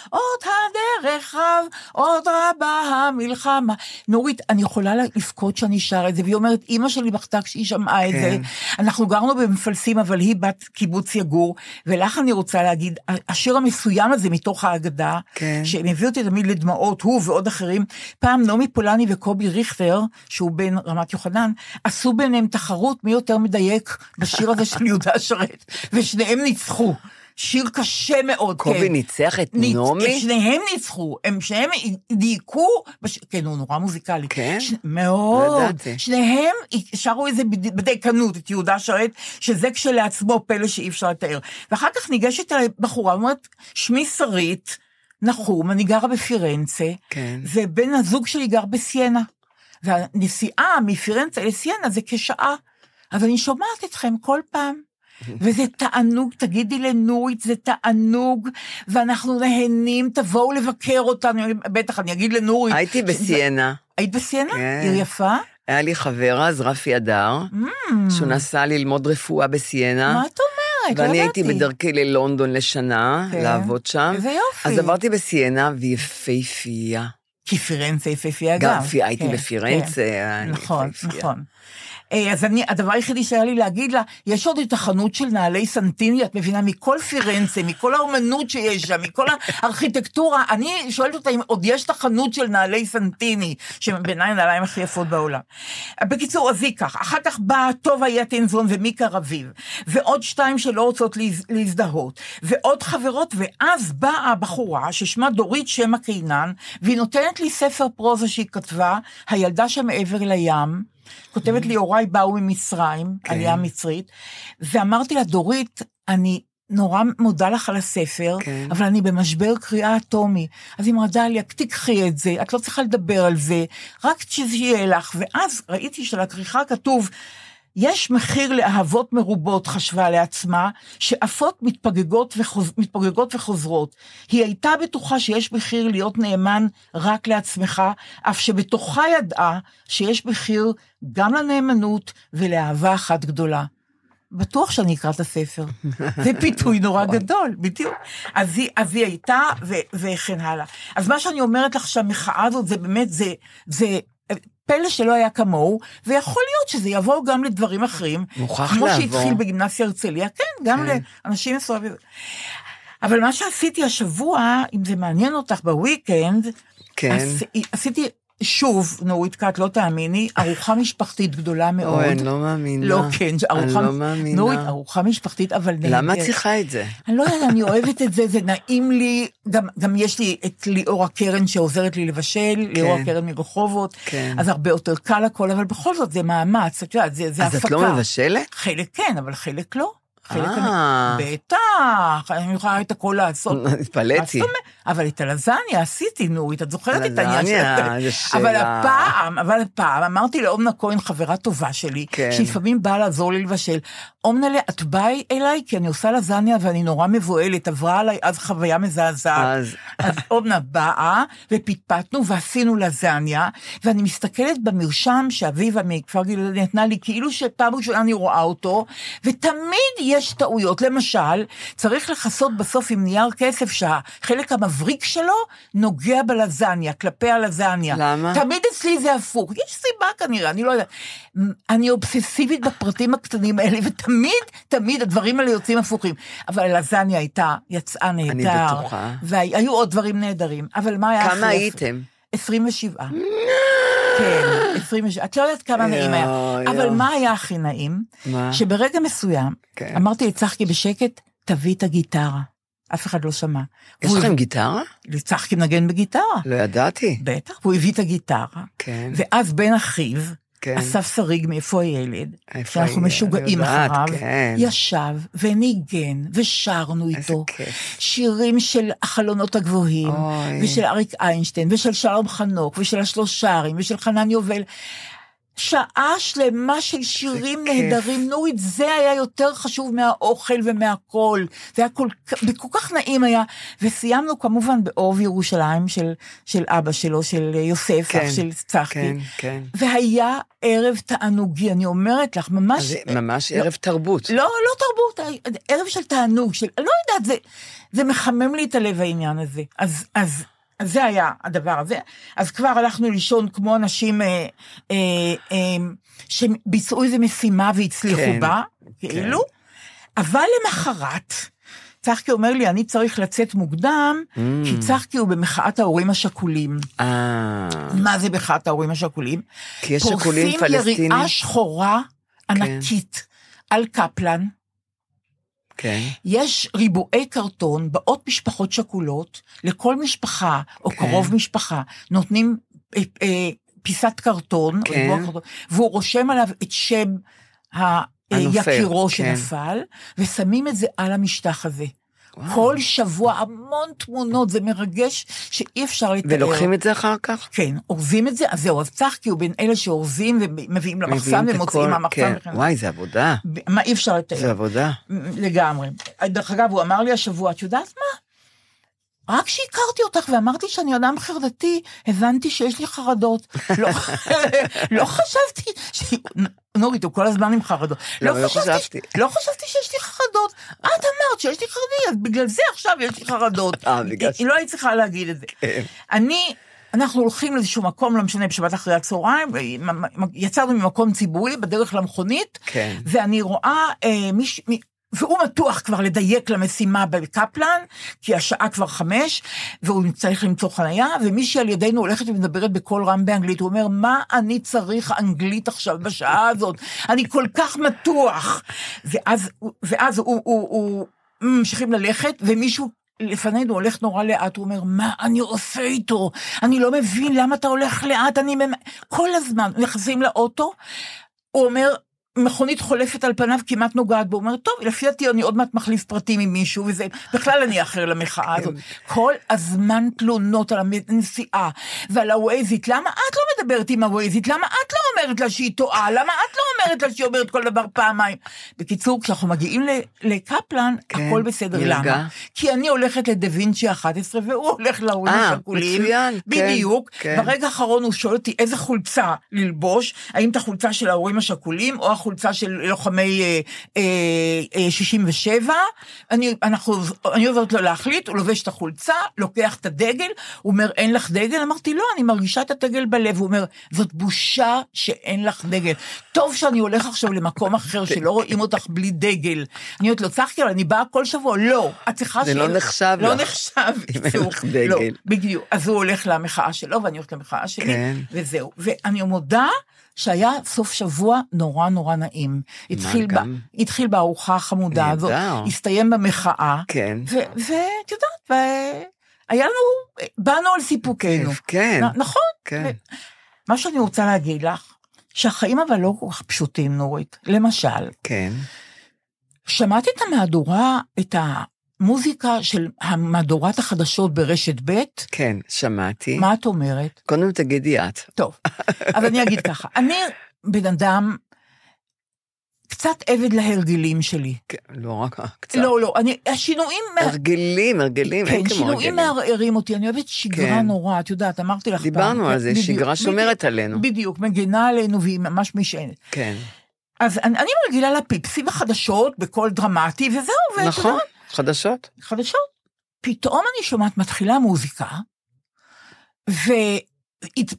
S3: עוד הדרך רב, עוד רבה המלחמה. נורית, אני יכולה לבכות שאני שרה את זה, והיא אומרת, אימא שלי בכתה כשהיא שמעה את
S4: כן.
S3: זה. אנחנו גרנו במפלסים, אבל היא בת קיבוץ יגור, ולך אני רוצה להגיד, השיר המסוים הזה מתוך ההגדה,
S4: כן.
S3: שמביא אותי תמיד לדמעות, הוא ועוד אחרים, פעם נעמי פולני וקובי ריכטר, שהוא בן רמת יוחנן, עשו ביניהם תחרות מי יותר מדייק בשיר הזה של יהודה שרת. ושניהם ניצחו. שיר קשה מאוד, כן.
S4: קובי ניצח את
S3: ניצ-
S4: נעמי?
S3: שניהם ניצחו, הם שניהם דייקו, בש... כן, הוא נורא מוזיקלי.
S4: כן?
S3: ש... מאוד.
S4: ידעתי.
S3: שניהם שרו איזה בד- בדייקנות, את יהודה שרת, שזה כשלעצמו פלא שאי אפשר לתאר. ואחר כך ניגשת אליי בחורה ואומרת, שמי שרית נחום, אני גרה בפירנצה,
S4: כן.
S3: ובן הזוג שלי גר בסיינה. והנסיעה מפירנצה לסיינה זה כשעה. אז אני שומעת אתכם כל פעם. וזה תענוג, תגידי לנורית, זה תענוג, ואנחנו נהנים, תבואו לבקר אותנו, בטח, אני אגיד לנורית.
S4: הייתי בסיינה,
S3: היית בסיינה?
S4: כן.
S3: עיר יפה? Hmm.
S4: היה לי חבר אז, רפי הדר, שהוא נסע ללמוד רפואה בסיינה,
S3: Mm. מה את אומרת? לא
S4: ואני
S3: ידעתי.
S4: הייתי בדרכי ללונדון לשנה,
S3: כן.
S4: לעבוד שם.
S3: איזה יופי.
S4: אז עברתי בסיינה, והיא יפהפייה.
S3: כי פירנצה יפהפייה גם.
S4: גם פי- הייתי
S3: כן,
S4: בפירנצה, היה
S3: כן.
S4: לי
S3: נכון,
S4: יפהפייה.
S3: נכון. אה, אז אני, הדבר היחידי שהיה לי להגיד לה, יש עוד את החנות של נעלי סנטיני, את מבינה, מכל פירנצה, מכל האומנות שיש שם, מכל הארכיטקטורה, אני שואלת אותה אם עוד יש את החנות של נעלי סנטיני, שבעיניי הנעליים הכי יפות בעולם. בקיצור, אז היא כך, אחר כך באה טובה יטינזון ומיקה רביב, ועוד שתיים שלא רוצות להז- להזדהות, ועוד חברות, ואז באה הבחורה ששמה דורית שמא קינן, והיא נותנת לי ספר פרוזה שהיא כתבה, הילדה שמעבר לים, כותבת לי, הוריי באו ממצרים,
S4: כן.
S3: עלייה מצרית, ואמרתי לה, דורית, אני נורא מודה לך על הספר,
S4: כן.
S3: אבל אני במשבר קריאה אטומי. אז היא אמרה, דליה, תיקחי את זה, את לא צריכה לדבר על זה, רק שזה יהיה לך. ואז ראיתי שלכריכה כתוב, יש מחיר לאהבות מרובות, חשבה לעצמה, שעפות מתפוגגות, וחוז... מתפוגגות וחוזרות. היא הייתה בטוחה שיש מחיר להיות נאמן רק לעצמך, אף שבתוכה ידעה שיש מחיר גם לנאמנות ולאהבה אחת גדולה. בטוח שאני אקרא את הספר. זה פיתוי נורא גדול, בדיוק. אז היא, אז היא הייתה, ו, וכן הלאה. אז מה שאני אומרת לך שהמחאה הזאת, זה באמת, זה, זה פלא שלא היה כמוהו, ויכול להיות שזה יבוא גם לדברים אחרים.
S4: מוכרח
S3: כמו
S4: לעבור.
S3: שהתחיל בגימנסיה הרצליה, כן, גם
S4: כן.
S3: לאנשים מסוימים. אבל מה שעשיתי השבוע, אם זה מעניין אותך, בוויקנד,
S4: כן.
S3: עש- עשיתי שוב, נורית כת, לא תאמיני, ארוחה משפחתית גדולה מאוד.
S4: אוי, אני לא מאמינה.
S3: לא, כן, ארוחה...
S4: אני לא מאמינה.
S3: נורית, ארוחה משפחתית, אבל נהדרת.
S4: למה את צריכה את זה?
S3: אני לא יודעת, אני אוהבת את זה, זה נעים לי. גם, גם יש לי את ליאורה קרן שעוזרת לי לבשל, ליאורה קרן מרחובות,
S4: כן.
S3: אז הרבה יותר קל הכל, אבל בכל זאת זה מאמץ, את יודעת, זה, זה
S4: אז
S3: הפקה.
S4: את לא מבשלת?
S3: חלק כן, אבל חלק לא. חלק אני...
S4: אה.
S3: בטח, אני יכולה את הכל לעשות. מה זאת
S4: התפלאתי.
S3: אומרת? אבל את הלזניה עשיתי, נורית, את זוכרת את העניין
S4: הלזניה,
S3: של-
S4: זו שאלה.
S3: אבל הפעם, אבל הפעם, אמרתי לאומנה כהן, חברה טובה שלי,
S4: כן.
S3: שלפעמים באה לעזור לי לבשל, אומנלה, את באה אליי כי אני עושה לזניה ואני נורא מבוהלת, עברה עליי אז חוויה מזעזעת.
S4: אז-
S3: אז אומנה באה, ופטפטנו ועשינו לזניה, ואני מסתכלת במרשם שאביבה מכפר גלעד נתנה לי, כאילו שפעם ראשונה אני רואה אותו, ותמיד יש טעויות. למשל, צריך לכסות בסוף עם נייר כסף שהחלק המבריק שלו נוגע בלזניה, כלפי הלזניה.
S4: למה?
S3: תמיד אצלי זה הפוך. יש סיבה כנראה, אני לא יודעת. אני אובססיבית בפרטים הקטנים האלה, ותמיד, תמיד הדברים האלה יוצאים הפוכים. אבל הלזניה הייתה, יצאה נהדר.
S4: בטוחה.
S3: והיו עוד דברים נהדרים, אבל מה היה אחרי?
S4: כמה הייתם?
S3: 27. כן, 27. את לא יודעת כמה נעים היה.
S4: יואו,
S3: אבל
S4: יואו.
S3: מה היה הכי נעים?
S4: מה?
S3: שברגע מסוים,
S4: כן.
S3: אמרתי לצחקי בשקט, תביא את הגיטרה. אף אחד לא שמע.
S4: יש
S3: והוא-
S4: לכם גיטרה?
S3: לצחקי מנגן בגיטרה.
S4: לא ידעתי.
S3: בטח, הוא הביא את הגיטרה.
S4: כן.
S3: ואז בן אחיו,
S4: כן.
S3: אסף שריג מאיפה הילד,
S4: איפה
S3: שאנחנו
S4: הילד?
S3: משוגעים
S4: יודעת,
S3: אחריו,
S4: כן.
S3: ישב וניגן ושרנו
S4: איזה
S3: איתו
S4: כיף.
S3: שירים של החלונות הגבוהים,
S4: אוי.
S3: ושל אריק איינשטיין, ושל שלום חנוך, ושל השלושרים, ושל חנן יובל. שעה שלמה של שירים
S4: כיף.
S3: נהדרים, נורית, זה היה יותר חשוב מהאוכל ומהכל. זה היה כל כך, וכל כך נעים היה. וסיימנו כמובן באור ירושלים של, של אבא שלו, של יוסף,
S4: כן,
S3: אח של צחקי.
S4: כן, כן.
S3: והיה ערב תענוגי, אני אומרת לך, ממש... אה,
S4: אז ממש ערב תרבות.
S3: לא, לא תרבות, ערב של תענוג, של, אני לא יודעת, זה, זה מחמם לי את הלב העניין הזה. אז, אז, אז זה היה הדבר הזה. אז כבר הלכנו לישון כמו אנשים אה, אה, אה, שביצעו איזו משימה והצליחו
S4: כן,
S3: בה, כאילו, אבל למחרת, צחקי אומר לי, אני צריך לצאת מוקדם,
S4: Mm.
S3: כי צחקי הוא במחאת ההורים השכולים.
S4: אה,
S3: מה זה מחאת ההורים השכולים?
S4: כי יש כן. שיקולים
S3: פורסים
S4: פלסטינים.
S3: יריעה שחורה ענקית על קפלן,
S4: כן.
S3: אה, יש ריבועי קרטון, באות משפחות שכולות, לכל משפחה, או
S4: כן.
S3: קרוב משפחה, נותנים אה, אה, פיסת קרטון,
S4: כן.
S3: או ריבוע קרטון, והוא רושם עליו את שם ה- אה,
S4: הנופל,
S3: יקירו
S4: כן.
S3: שנפל, ושמים את זה על המשטח הזה.
S4: וואו.
S3: כל שבוע המון תמונות, זה מרגש שאי אפשר לתאר.
S4: ולוקחים את זה אחר כך?
S3: כן, אורזים את זה, אז זהו, אז צחקי הוא בין אלה שאורזים ומביאים למחסן
S4: מביאים את
S3: לא, ומוציאים
S4: הכל,
S3: מהמחסן.
S4: כן.
S3: וכן הלאה. כן.
S4: וואי, זה עבודה.
S3: ב- מה אי אפשר לתאר.
S4: זה עבודה.
S3: לגמרי. דרך אגב, הוא אמר לי השבוע, את יודעת מה? רק כשהכרתי אותך ואמרתי שאני אדם חרדתי, הבנתי שיש לי חרדות. לא, לא חשבתי, ש... נורית, הוא כל הזמן עם חרדות.
S4: לא, לא חשבתי.
S3: לא חשבתי שיש לי חרדות. את אמרת שיש לי חרדות, אז בגלל זה עכשיו יש לי חרדות.
S4: אה, בגלל
S3: היא לא היית צריכה להגיד את זה. אני, אנחנו הולכים לאיזשהו מקום, לא משנה, בשבת אחרי הצהריים, יצאנו ממקום ציבורי בדרך למכונית,
S4: כן.
S3: ואני רואה אה, מיש... מי... והוא מתוח כבר לדייק למשימה בקפלן, כי השעה כבר חמש, והוא צריך למצוא חנייה, ומישהי על ידינו הולכת ומדברת בקול רם באנגלית, הוא אומר, מה אני צריך אנגלית עכשיו בשעה הזאת? אני כל כך מתוח. ואז, הוא- ואז הוא, הוא, הוא, הוא ממשיכים ללכת, ומישהו לפנינו הולך נורא לאט, הוא אומר, מה אני עושה איתו? אני לא מבין למה אתה הולך לאט, אני... ממ-" כל הזמן נכנסים לאוטו, הוא אומר, מכונית חולפת על פניו, כמעט נוגעת בו, הוא אומר, טוב, לפי דעתי אני עוד מעט מחליף פרטים עם מישהו, וזה, בכלל אני אחר למחאה הזאת. כל הזמן תלונות על הנסיעה ועל הווייזית, למה את לא מדברת עם הווייזית? למה את לא אומרת לה שהיא טועה? למה את לא אומרת לה שהיא אומרת כל דבר פעמיים? בקיצור, כשאנחנו מגיעים ל- לקפלן,
S4: כן,
S3: הכל בסדר,
S4: נרגע.
S3: למה? כי אני הולכת לדה וינצ'י 11 והוא הולך להורים
S4: אה,
S3: השכולים.
S4: מצוין, כן,
S3: בדיוק.
S4: כן.
S3: ברגע האחרון הוא שואל אותי איזה חולצה ללבוש, האם את החולצה של ההורים השכולים או החולצה של לוחמי אה, אה, אה, 67. אני, אנחנו, אני עוברת לו להחליט, הוא לובש את החולצה, לוקח את הדגל, הוא אומר אין לך דגל? אמרתי לא, אני מרגישה את הדגל בלב. הוא אומר זאת בושה שאין לך דגל. טוב שאני הולך עכשיו למקום אחר שלא רואים אותך בלי דגל. אני אומרת לו צחקי אבל אני באה כל שבוע, לא, את צריכה
S4: זה לא
S3: שיהיה לך-
S4: נחשב
S3: לא
S4: לך.
S3: נחשב,
S4: אם אין
S3: בקיצור,
S4: לך
S3: לא.
S4: דגל.
S3: בדיוק, אז הוא הולך למחאה שלו ואני הולכת למחאה שלי,
S4: כן.
S3: וזהו. ואני מודה שהיה סוף שבוע נורא נורא נעים. התחיל, ב,
S4: גם?
S3: התחיל בארוחה החמודה הזאת,
S4: נהדר.
S3: הסתיים במחאה,
S4: כן.
S3: ואת יודעת, והיה לנו, באנו על סיפוקנו.
S4: כיף, כן.
S3: נ- נכון.
S4: כן.
S3: ו- מה שאני רוצה להגיד לך, שהחיים אבל לא כל כך פשוטים, נורית. למשל,
S4: כן.
S3: שמעת את המהדורה, את המוזיקה של מהדורת החדשות ברשת ב'?
S4: כן, שמעתי.
S3: מה את אומרת?
S4: קודם תגידי את.
S3: טוב, אז אני אגיד ככה, אני בן אדם קצת עבד להרגלים שלי.
S4: כן, לא רק קצת.
S3: לא, לא, אני, השינויים... מה-
S4: הרגלים, הרגלים, אין
S3: כן,
S4: כמו
S3: שינויים
S4: הרגלים.
S3: מערערים אותי, אני אוהבת שגרה
S4: כן.
S3: נורא, את יודעת, אמרתי לך פעם.
S4: דיברנו על
S3: כן,
S4: זה,
S3: בדיוק,
S4: שגרה
S3: בדיוק,
S4: שומרת עלינו.
S3: בדיוק, מגינה עלינו והיא ממש משענת.
S4: כן.
S3: אז אני אני רגילה לפיפסים החדשות בקול דרמטי, וזהו, ואת
S4: נכון,
S3: יודעת,
S4: חדשות.
S3: חדשות. פתאום אני שומעת מתחילה מוזיקה, והיא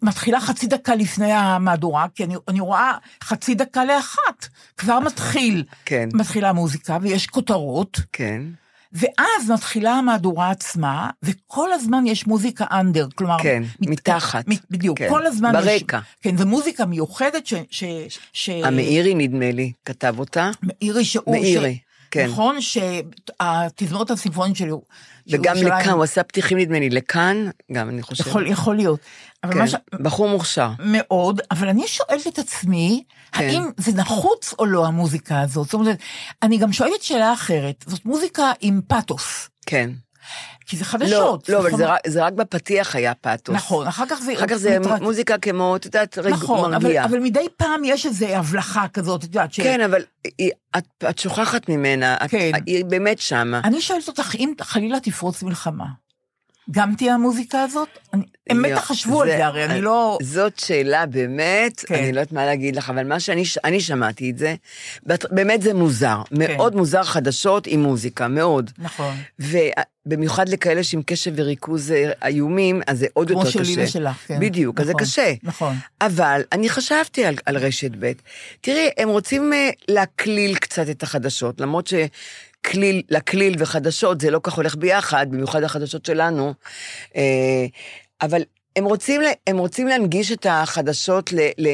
S3: מתחילה חצי דקה לפני המהדורה, כי אני, אני רואה חצי דקה לאחת, כבר מתחיל,
S4: כן,
S3: מתחילה המוזיקה ויש כותרות,
S4: כן,
S3: ואז מתחילה המהדורה עצמה, וכל הזמן יש מוזיקה אנדר, כלומר...
S4: כן,
S3: מת-
S4: מתחת.
S3: מ- בדיוק,
S4: כן,
S3: כל הזמן...
S4: ברקע.
S3: יש, כן, זו מוזיקה מיוחדת ש... ש, ש
S4: המאירי, נדמה לי, כתב אותה.
S3: מאירי שהוא...
S4: מאירי,
S3: ש,
S4: כן.
S3: נכון, שהתזמורת הסינפונית של ירושלים...
S4: וגם לכאן, הוא עשה פתיחים, נדמה לי, לכאן, גם אני חושבת.
S3: יכול, יכול להיות. אבל
S4: כן,
S3: מה ש...
S4: בחור מוכשר.
S3: מאוד, אבל אני שואלת את עצמי,
S4: כן.
S3: האם זה נחוץ או לא המוזיקה הזאת? זאת אומרת, אני גם שואלת שאלה אחרת, זאת מוזיקה עם פאתוס,
S4: כן.
S3: כי זה
S4: לא,
S3: חדשות.
S4: לא, אבל זה
S3: נכון?
S4: רק- זה רק בפתיח היה פאתוס.
S3: נכון, אחר כך זה...
S4: אחר כך זה
S3: מתרק-
S4: מוזיקה כמו, את יודעת, רגע,
S3: נכון, אבל,
S4: מרגיעה.
S3: אבל מדי פעם יש איזו הבלחה כזאת, את יודעת, ש...
S4: כן, אבל היא- את- את שוכחת ממנה, את-
S3: כן.
S4: היא באמת שמה.
S3: אני שואלת אותך, אם חלילה תפרוץ מלחמה, גם תהיה המוזיקה הזאת? אני, הם
S4: יא,
S3: בטח חשבו על זה, הרי
S4: אה,
S3: אני לא...
S4: זאת שאלה באמת,
S3: כן.
S4: אני לא יודעת מה להגיד לך, אבל מה שאני ש- אני שמעתי את זה, בת- באמת זה מוזר.
S3: כן.
S4: מאוד מוזר חדשות עם מוזיקה, מאוד.
S3: נכון,
S4: ובמיוחד לכאלה שעם קשב וריכוז אה, איומים, אז זה עוד
S3: כמו
S4: יותר קשה.
S3: שלי ושלך, כן.
S4: בדיוק, אז זה
S3: נכון,
S4: קשה.
S3: נכון.
S4: אבל אני חשבתי על, על רשת ב'. תראי, הם רוצים אה, להקליל קצת את החדשות, למרות שכליל, להקליל וחדשות זה לא כך הולך ביחד, במיוחד החדשות שלנו. אה, אבל הם רוצים, ל- הם רוצים להנגיש את החדשות ל, ל,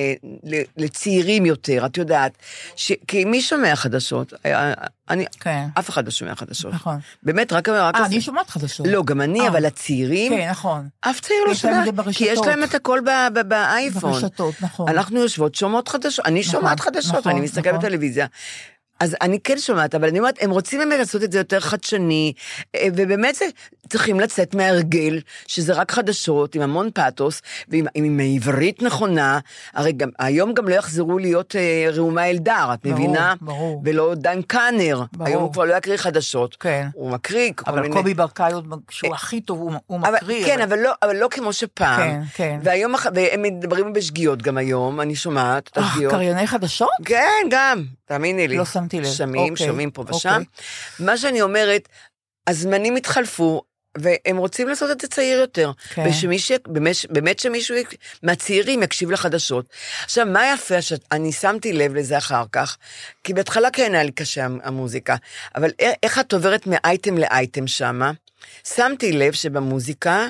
S4: ל, לצעירים יותר, את יודעת. ש, כי מי שומע חדשות? אה, אני,
S3: כן.
S4: אף אחד לא שומע חדשות.
S3: נכון.
S4: באמת, רק... רק
S3: אה,
S4: אז-
S3: אני שומעת חדשות.
S4: לא, גם אני,
S3: אה.
S4: אבל הצעירים,
S3: כן, נכון.
S4: אף צעיר לא
S3: יש להם
S4: שומע,
S3: את זה
S4: כי יש
S3: ברשתות.
S4: להם את הכל ב- ב- באייפון.
S3: ברשתות, נכון.
S4: אנחנו יושבות, שומעות חדשות, אני
S3: נכון,
S4: שומעת חדשות,
S3: נכון,
S4: ואני מסתכלת
S3: נכון.
S4: בטלוויזיה. אז אני כן שומעת, אבל אני אומרת, הם רוצים באמת לעשות את זה יותר חדשני, אה, ובאמת זה, צריכים לצאת מההרגל, שזה רק חדשות, עם המון פאתוס, ועם עם עברית נכונה, הרי גם, היום גם לא יחזרו להיות אה, ראומה אלדר, את
S3: ברור,
S4: מבינה?
S3: ברור.
S4: ולא דן קאנר,
S3: ברור.
S4: היום הוא כבר לא יקריא חדשות.
S3: כן.
S4: הוא מקריא כל
S3: אבל
S4: מיני...
S3: קובי ברקאי, עוד- שהוא הכי טוב, הוא- הוא
S4: אבל,
S3: מקריא.
S4: כן, אבל... לא, אבל לא כמו שפעם.
S3: כן, כן.
S4: והיום, הח- והם מדברים בשגיאות גם היום, אני שומעת את
S3: אה,
S4: השגיאות.
S3: קרייני חדשות?
S4: כן, גם, תאמיני לי.
S3: לא שמתי לב.
S4: שומעים,
S3: אוקיי,
S4: שומעים פה
S3: אוקיי.
S4: ושם. מה שאני אומרת, הזמנים התחלפו, והם רוצים לעשות את זה צעיר יותר.
S3: כן.
S4: ושמי ש... באמת, באמת שמישהו יק- מהצעירים יקשיב לחדשות. עכשיו, מה יפה, שאני שמתי לב לזה אחר כך, כי בהתחלה כן היה לי קשה המ- המוזיקה, אבל א- איך את עוברת מאייטם לאייטם שמה? שמתי לב שבמוזיקה,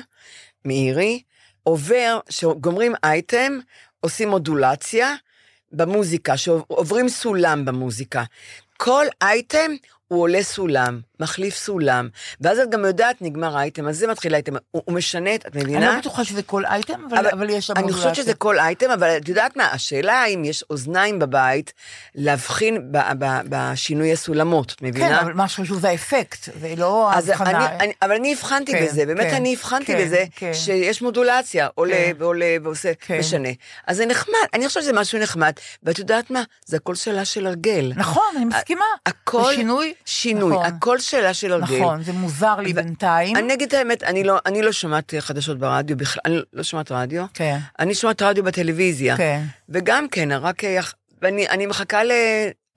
S4: מאירי, עובר, שגומרים אייטם, עושים מודולציה במוזיקה, שעוברים סולם במוזיקה. כל אייטם הוא עולה סולם, מחליף סולם, ואז את גם יודעת, נגמר האייטם, אז זה מתחיל האייטם, הוא, הוא משנה, את- את
S3: אני לא
S4: מבינה?
S3: בטוחה שזה כל אייטם, אבל- אבל יש שם...
S4: אני חושבת
S3: מודולציה.
S4: שזה כל אייטם, אבל את יודעת מה, השאלה אם יש אוזניים בבית להבחין ב, ב, בשינוי הסולמות, את מבינה?
S3: כן, אבל מה שחשוב זה האפקט, זה לא
S4: אז
S3: ההבחנה.
S4: אני, אני, אבל אני הבחנתי
S3: כן,
S4: בזה, באמת
S3: כן,
S4: אני הבחנתי
S3: כן,
S4: בזה,
S3: כן.
S4: שיש מודולציה, עולה
S3: כן.
S4: ועולה ועושה,
S3: כן.
S4: משנה. אז זה נחמד, אני חושבת שזה משהו נחמד, ואת יודעת מה, זה הכל שאלה של הרגל.
S3: נכון, אני מסכימה.
S4: הכל,
S3: זה שינוי.
S4: שינוי,
S3: נכון.
S4: הכל שאלה של הרגל.
S3: נכון, זה מוזר לי
S4: ו-
S3: בינתיים.
S4: אני אגיד את האמת, אני לא, אני לא שומעת אה, חדשות ברדיו בכלל, אני לא שומעת רדיו.
S3: כן.
S4: אני שומעת רדיו בטלוויזיה.
S3: כן.
S4: וגם כן, רק... אה, יח- ואני אני מחכה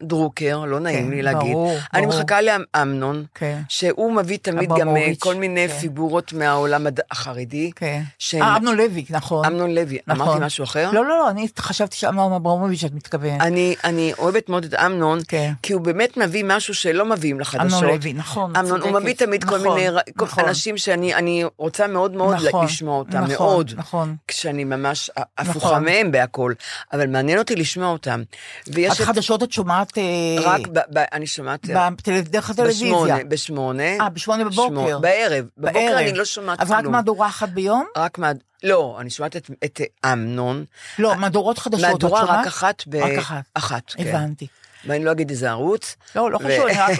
S4: לדרוקר, לא נעים
S3: כן,
S4: לי להגיד.
S3: ברור,
S4: אני
S3: ברור.
S4: מחכה לאמנון,
S3: כן.
S4: שהוא מביא תמיד גם אה,
S3: אברמוביץ',
S4: כל מיני
S3: כן.
S4: פיגורות מהעולם הד- החרדי.
S3: כן.
S4: שהם-
S3: אה, אמנון לוי, נכון.
S4: אמנון לוי,
S3: נכון.
S4: אמרתי משהו אחר?
S3: לא, לא, לא, אני חשבתי שאמנון אברמוביץ' את מתכוונת.
S4: אני, אני אוהבת מאוד את אמנון,
S3: כן.
S4: כי הוא באמת מביא משהו שלא מביאים לחדשות.
S3: אמנון לוי, נכון,
S4: אמנון, הוא
S3: צודקת.
S4: מביא תמיד כל
S3: נכון,
S4: מיני ר- כל-
S3: נכון.
S4: אנשים שאני אני רוצה מאוד מאוד
S3: נכון,
S4: לשמוע אותם,
S3: נכון,
S4: מאוד.
S3: נכון.
S4: כשאני ממש הפוכה
S3: נכון.
S4: מהם בהכל, אבל מעניין אותי לשמוע אותם.
S3: את
S4: ויש את...
S3: חדשות את שומעת... אה,
S4: רק, ב, ב, אני שומעת...
S3: בטל- דרך הטלוויזיה.
S4: בשמונה, בשמונה.
S3: אה, בשמונה בבוקר.
S4: שמונה- בערב. בבוקר
S3: בערב.
S4: אני לא שומעת
S3: אז
S4: כלום.
S3: רק מהדורה אחת ביום?
S4: רק מה... לא, אני שומעת את, את אמנון.
S3: לא, מהדורות חדשות את שומעת?
S4: אה, מהדורה רק אחת ב...
S3: רק אחת.
S4: אחת, כן.
S3: הבנתי.
S4: ואני לא אגיד איזה ערוץ.
S3: לא, לא
S4: ו-
S3: חשוב, אני רק...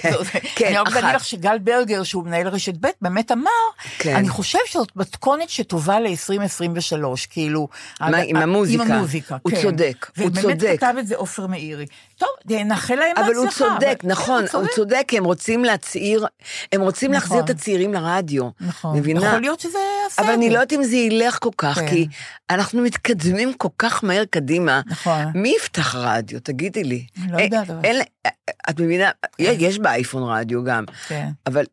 S4: כן,
S3: אני רק
S4: אחת.
S3: אגיד לך שגל ברגר, שהוא מנהל רשת ב', באמת אמר,
S4: כן.
S3: אני חושב שזאת מתכונת שטובה ל-2023, כאילו...
S4: מה, עם המוזיקה?
S3: עם המוזיקה,
S4: הוא
S3: כן.
S4: צודק, הוא
S3: ובאמת
S4: צודק.
S3: כתב את זה עופר מאירי. טוב, נאחל להם בהצלחה.
S4: אבל הוא צודק,
S3: כן,
S4: נכון, הוא צודק, כי הם רוצים להצעיר, הם רוצים להחזיר את
S3: נכון.
S4: הצעירים לרדיו.
S3: נכון.
S4: מבינה?
S3: יכול להיות שזה יעשה
S4: אבל
S3: את
S4: אני
S3: זה.
S4: לא יודעת אם זה ילך כל כך,
S3: כן.
S4: כי אנחנו מתקדמים כל כך מהר קדימה.
S3: נכון.
S4: מי יפתח רדיו? תגידי לי.
S3: אני לא
S4: אה,
S3: יודעת, אבל-
S4: אין- אה, את מבינה? יש באייפון רדיו גם.
S3: כן.
S4: אבל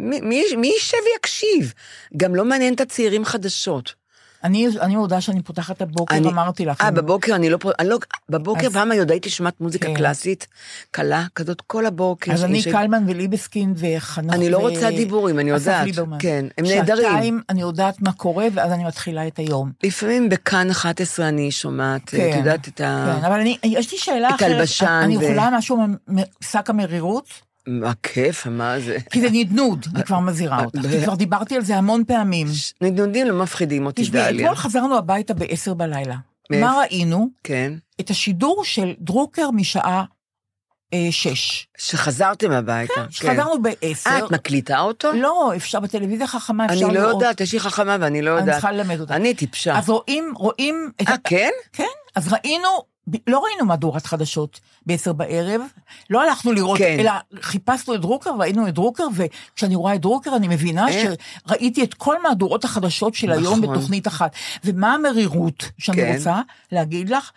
S4: מי- מי מי יישב ויקשיב? גם לא מעניין את הצעירים חדשות.
S3: אני, אני מודה שאני פותחת את הבוקר,
S4: אני-
S3: אמרתי לך.
S4: אה,
S3: אני-
S4: בבוקר אני לא... פה- אני לא- בבוקר
S3: נכון. אז-
S4: פעם עוד הייתי שומעת מוזיקה
S3: כן.
S4: קלאסית, קלה, כזאת כל הבוקר.
S3: אז אני
S4: ש-
S3: קלמן וליבסקינד וחנוך...
S4: אני לא
S3: ו-
S4: רוצה דיבורים, אני
S3: אוקיי. אסף
S4: יודעת.
S3: ליברמן.
S4: כן, הם נהדרים.
S3: שעתיים, אני יודעת מה קורה, ואז אני מתחילה את היום.
S4: לפעמים בכאן 11 אני שומעת,
S3: כן.
S4: את יודעת את ה...
S3: כן, אבל אני, יש לי שאלה
S4: אה. את
S3: אחרת.
S4: הלבשן
S3: אני
S4: ו-
S3: יכולה משהו משק המרירות? כן.
S4: מה כיף, מה זה?
S3: כי זה נדנוד, אני כבר מזהירה אותך. כי כבר דיברתי על זה המון פעמים.
S4: נדנודים לא מפחידים אותי,
S3: כן. תשמעי,
S4: דליה.
S3: אתמול חזרנו הביתה ב-10 בלילה.
S4: מאיפה?
S3: מה ראינו?
S4: כן.
S3: את השידור של דרוקר משעה 6.
S4: שחזרתם הביתה. כן.
S3: חזרנו ב-10.
S4: אה, את מקליטה אותו?
S3: לא, אפשר בטלוויזיה חכמה, אפשר
S4: אני לא
S3: לראות.
S4: יודעת, יש לי חכמה ואני לא יודעת.
S3: אני צריכה ללמד אותה.
S4: אני טיפשה.
S3: אז רואים, רואים... את
S4: אה,
S3: ה-
S4: כן?
S3: כן, אז ראינו, ב- לא ראינו מהדורת חדשות ב-10 בערב, לא הלכנו לראות,
S4: כן.
S3: כן. אלא חיפשנו את דרוקר, ראינו את דרוקר, וכשאני רואה את דרוקר אני מבינה
S4: אה.
S3: שראיתי את כל מהדורות החדשות של היום
S4: נכון.
S3: בתוכנית אחת. ומה המרירות שאני
S4: כן.
S3: רוצה להגיד לך,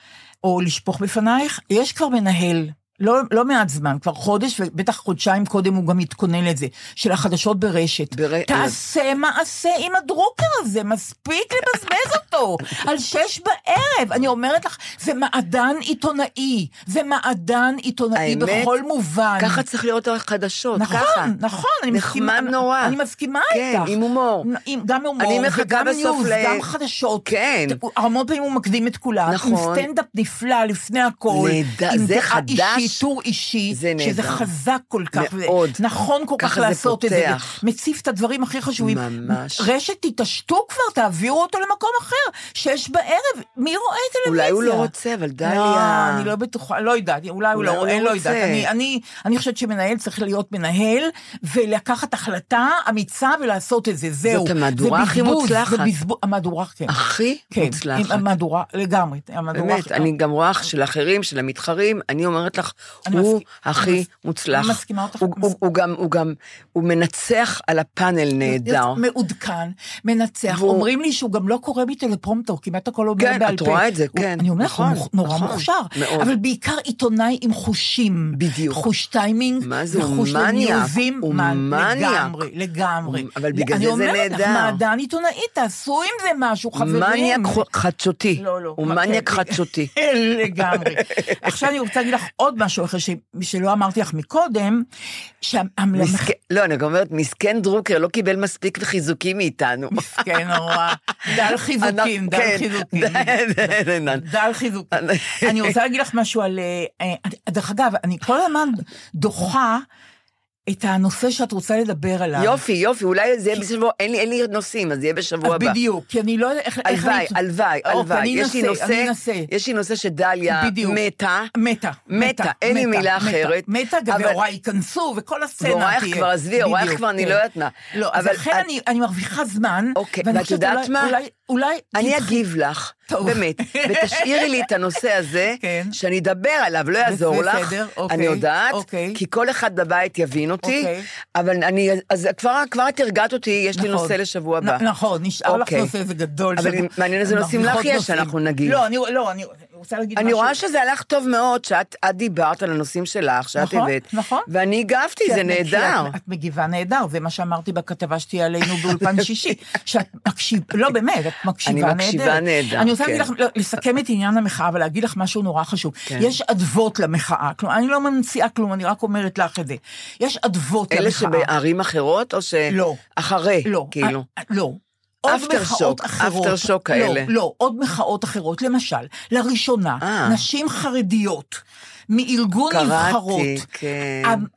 S3: או לשפוך בפנייך? יש כבר מנהל לא, לא מעט זמן, כבר חודש, ובטח חודשיים קודם הוא גם התכונן לזה, של החדשות ברשת.
S4: בר-
S3: תעשה מעשה עם הדרוקר הזה, מספיק לבזבז אותו, על שש בערב. אני אומרת לך, זה מעדן עיתונאי, זה מעדן עיתונאי
S4: האמת,
S3: בכל מובן.
S4: ככה צריך לראות החדשות,
S3: נכון,
S4: ככה.
S3: נכון, אני מסכימה,
S4: נחמד נורא.
S3: אני מסכימה
S4: כן,
S3: איתך.
S4: עם הומור.
S3: עם- גם הומור,
S4: אני מחכה
S3: וגם
S4: בסוף
S3: ניוז,
S4: ל-
S3: גם חדשות.
S4: כן.
S3: ת- המון פעמים הוא מקדים את כולם.
S4: נכון.
S3: עם סטנדאפ נפלא לפני הכל.
S4: נהדר,
S3: עם
S4: זה
S3: דעה
S4: חדש.
S3: אישית, טור אישי.
S4: זה נהדר.
S3: שזה חזק כל כך.
S4: מאוד.
S3: נכון כל כך
S4: ככה זה
S3: לעשות את זה.
S4: פותח.
S3: מציף את הדברים הכי חשובים.
S4: ממש.
S3: רשת, תתעשתו כבר, תעבירו אותו למקום אחר. שש בערב, מי רואה טלוויזיה?
S4: אולי הוא לא רוצה, אבל
S3: לא,
S4: דליה.
S3: אני לא בטוחה, לא יודעת, אולי הוא
S4: אולי
S3: לא
S4: הוא
S3: רואה,
S4: לא
S3: לא יודעת.
S4: רוצה.
S3: אני- אני- אני חושבת שמנהל צריך להיות מנהל, ולקחת החלטה אמיצה ולעשות את זה, זהו.
S4: זאת המהדורה
S3: זה
S4: הכי
S3: בזבוז,
S4: מוצלחת.
S3: זה בזבוז, המהדורה, כן.
S4: הכי
S3: כן,
S4: מוצלחת.
S3: עם המהדורה, לגמרי. המהדורה
S4: באמת,
S3: הכי-
S4: אני גם רואה אח של אחרים, של המתחרים, אני אומרת לך,
S3: אני
S4: הוא
S3: מסכימה- אני
S4: הכי
S3: מס-
S4: מוצלח.
S3: אני מסכימה אותך.
S4: הוא- הוא- הוא גם, הוא גם, הוא מנצח על הפאנל נהדר.
S3: מעודכן, מנצח.
S4: והוא-
S3: אומרים לי שהוא גם לא קורא מטלפרומטר, כמעט הכל אומר
S4: כן,
S3: בעל פה.
S4: את רואה את זה,
S3: הוא-
S4: כן,
S3: אני אומרת, הוא
S4: נכון,
S3: מוכ- נורא
S4: נכון,
S3: מוכשר.
S4: מאוד.
S3: אבל בעיקר עיתונאי עם חושים.
S4: בדיוק.
S3: חוש טיימינג,
S4: מה זה, הוא
S3: וחוש
S4: מניאק,
S3: לניוזים.
S4: הוא
S3: מה-
S4: מניאק.
S3: לגמרי, לגמרי.
S4: הוא- אבל בגלל
S3: אני
S4: זה זה
S3: אומרת לך,
S4: נהדר.
S3: מעדן עיתונאי, תעשו עם זה משהו, חברים.
S4: מניאק חו- חדשותי.
S3: לא, לא.
S4: הוא
S3: כן,
S4: מניאק
S3: כן.
S4: חדשותי.
S3: לגמרי. עכשיו אני רוצה להגיד לך עוד משהו אחר ש- שלא אמרתי לך מקודם, שהמחקר
S4: מסכן- לא, אני גם אומרת, מסכן דרוקר לא קיבל מספיק חיזוקים מאיתנו.
S3: מסכן נורא. דל חיזוקים,
S4: אנחנו-
S3: דל
S4: כן,
S3: חיזוקים.
S4: די, די, די.
S3: דל חיזוקים.
S4: אני-
S3: אני רוצה להגיד לך משהו על... אה, אה, דרך אגב, אני כל הזמן דוחה את הנושא שאת רוצה לדבר עליו.
S4: יופי, יופי, אולי זה יהיה בשבוע, אין לי- אין לי נושאים, אז זה יהיה בשבוע הבא.
S3: בדיוק, כי אני לא יודעת איך... איך
S4: הלוואי,
S3: אני-
S4: הלוואי,
S3: אוקיי,
S4: הלוואי.
S3: אני
S4: יש לי
S3: אנסה, אני
S4: נושא,
S3: אנסה.
S4: יש לי נושא שדליה
S3: בדיוק.
S4: מתה.
S3: מתה,
S4: מתה, אין לי
S3: מתה,
S4: מילה
S3: מתה,
S4: אחרת,
S3: מתה, גם
S4: אבל-
S3: והוריי ייכנסו, וכל הסצנה תהיה.
S4: והורייך כבר, עזבי, הורייך
S3: בדיוק,
S4: כבר, אני
S3: כן.
S4: לא יודעת מה.
S3: לא, אז
S4: אבל
S3: לכן
S4: את-
S3: אני- אני מרוויחה זמן.
S4: אוקיי,
S3: ואני
S4: ואת
S3: חושבת
S4: יודעת
S3: אולי-
S4: מה?
S3: אולי- אולי...
S4: אני
S3: תדחי-
S4: אגיב לך,
S3: טוב.
S4: באמת, ותשאירי לי את הנושא הזה,
S3: כן.
S4: שאני אדבר עליו, לא יעזור לך,
S3: בסדר, אוקיי,
S4: אני יודעת,
S3: אוקיי.
S4: כי כל אחד בבית יבין אותי,
S3: אוקיי.
S4: אבל אני, אז כבר כבר את הרגעת אותי, יש לי
S3: נכון.
S4: נושא לשבוע
S3: נ-
S4: הבא.
S3: נכון, נשאר לך
S4: אוקיי.
S3: נושא איזה גדול.
S4: אבל
S3: שאנחנו-
S4: מעניין איזה נושאים לך
S3: מרוויחות
S4: יש
S3: נושאים.
S4: שאנחנו נגיד.
S3: לא, אני לא, אני רוצה להגיד משהו.
S4: אני רואה שזה הלך טוב מאוד, שאת את דיברת על הנושאים שלך, שאת
S3: נכון,
S4: הבאת.
S3: נכון. כן,
S4: ואני הגבתי,
S3: כי
S4: זה
S3: את-
S4: נהדר.
S3: כי את- את מגיבה נהדר, זה מה שאמרתי בכתבה שתהיה עלינו באולפן שישי, שאת מקשיבה, לא באמת, את מקשיבה נהדר.
S4: אני מקשיבה נהדר,
S3: אני רוצה
S4: כן. כן.
S3: להגיד לך, לא, לסכם את עניין המחאה ולהגיד לך משהו נורא חשוב. יש אדוות למחאה, כלומר, אני לא ממציאה כלום, אני רק אומרת לך את זה. יש אדוות למחאה.
S4: אלה שבערים אחרות, או ש...
S3: לא.
S4: אחרי,
S3: לא,
S4: כאילו.
S3: אה, לא. עוד
S4: After
S3: מחאות
S4: shock,
S3: אחרות.
S4: after shock כאלה.
S3: לא, לא, עוד מחאות אחרות. למשל, לראשונה,
S4: אה.
S3: נשים חרדיות מארגון
S4: קראתי,
S3: נבחרות,
S4: כן.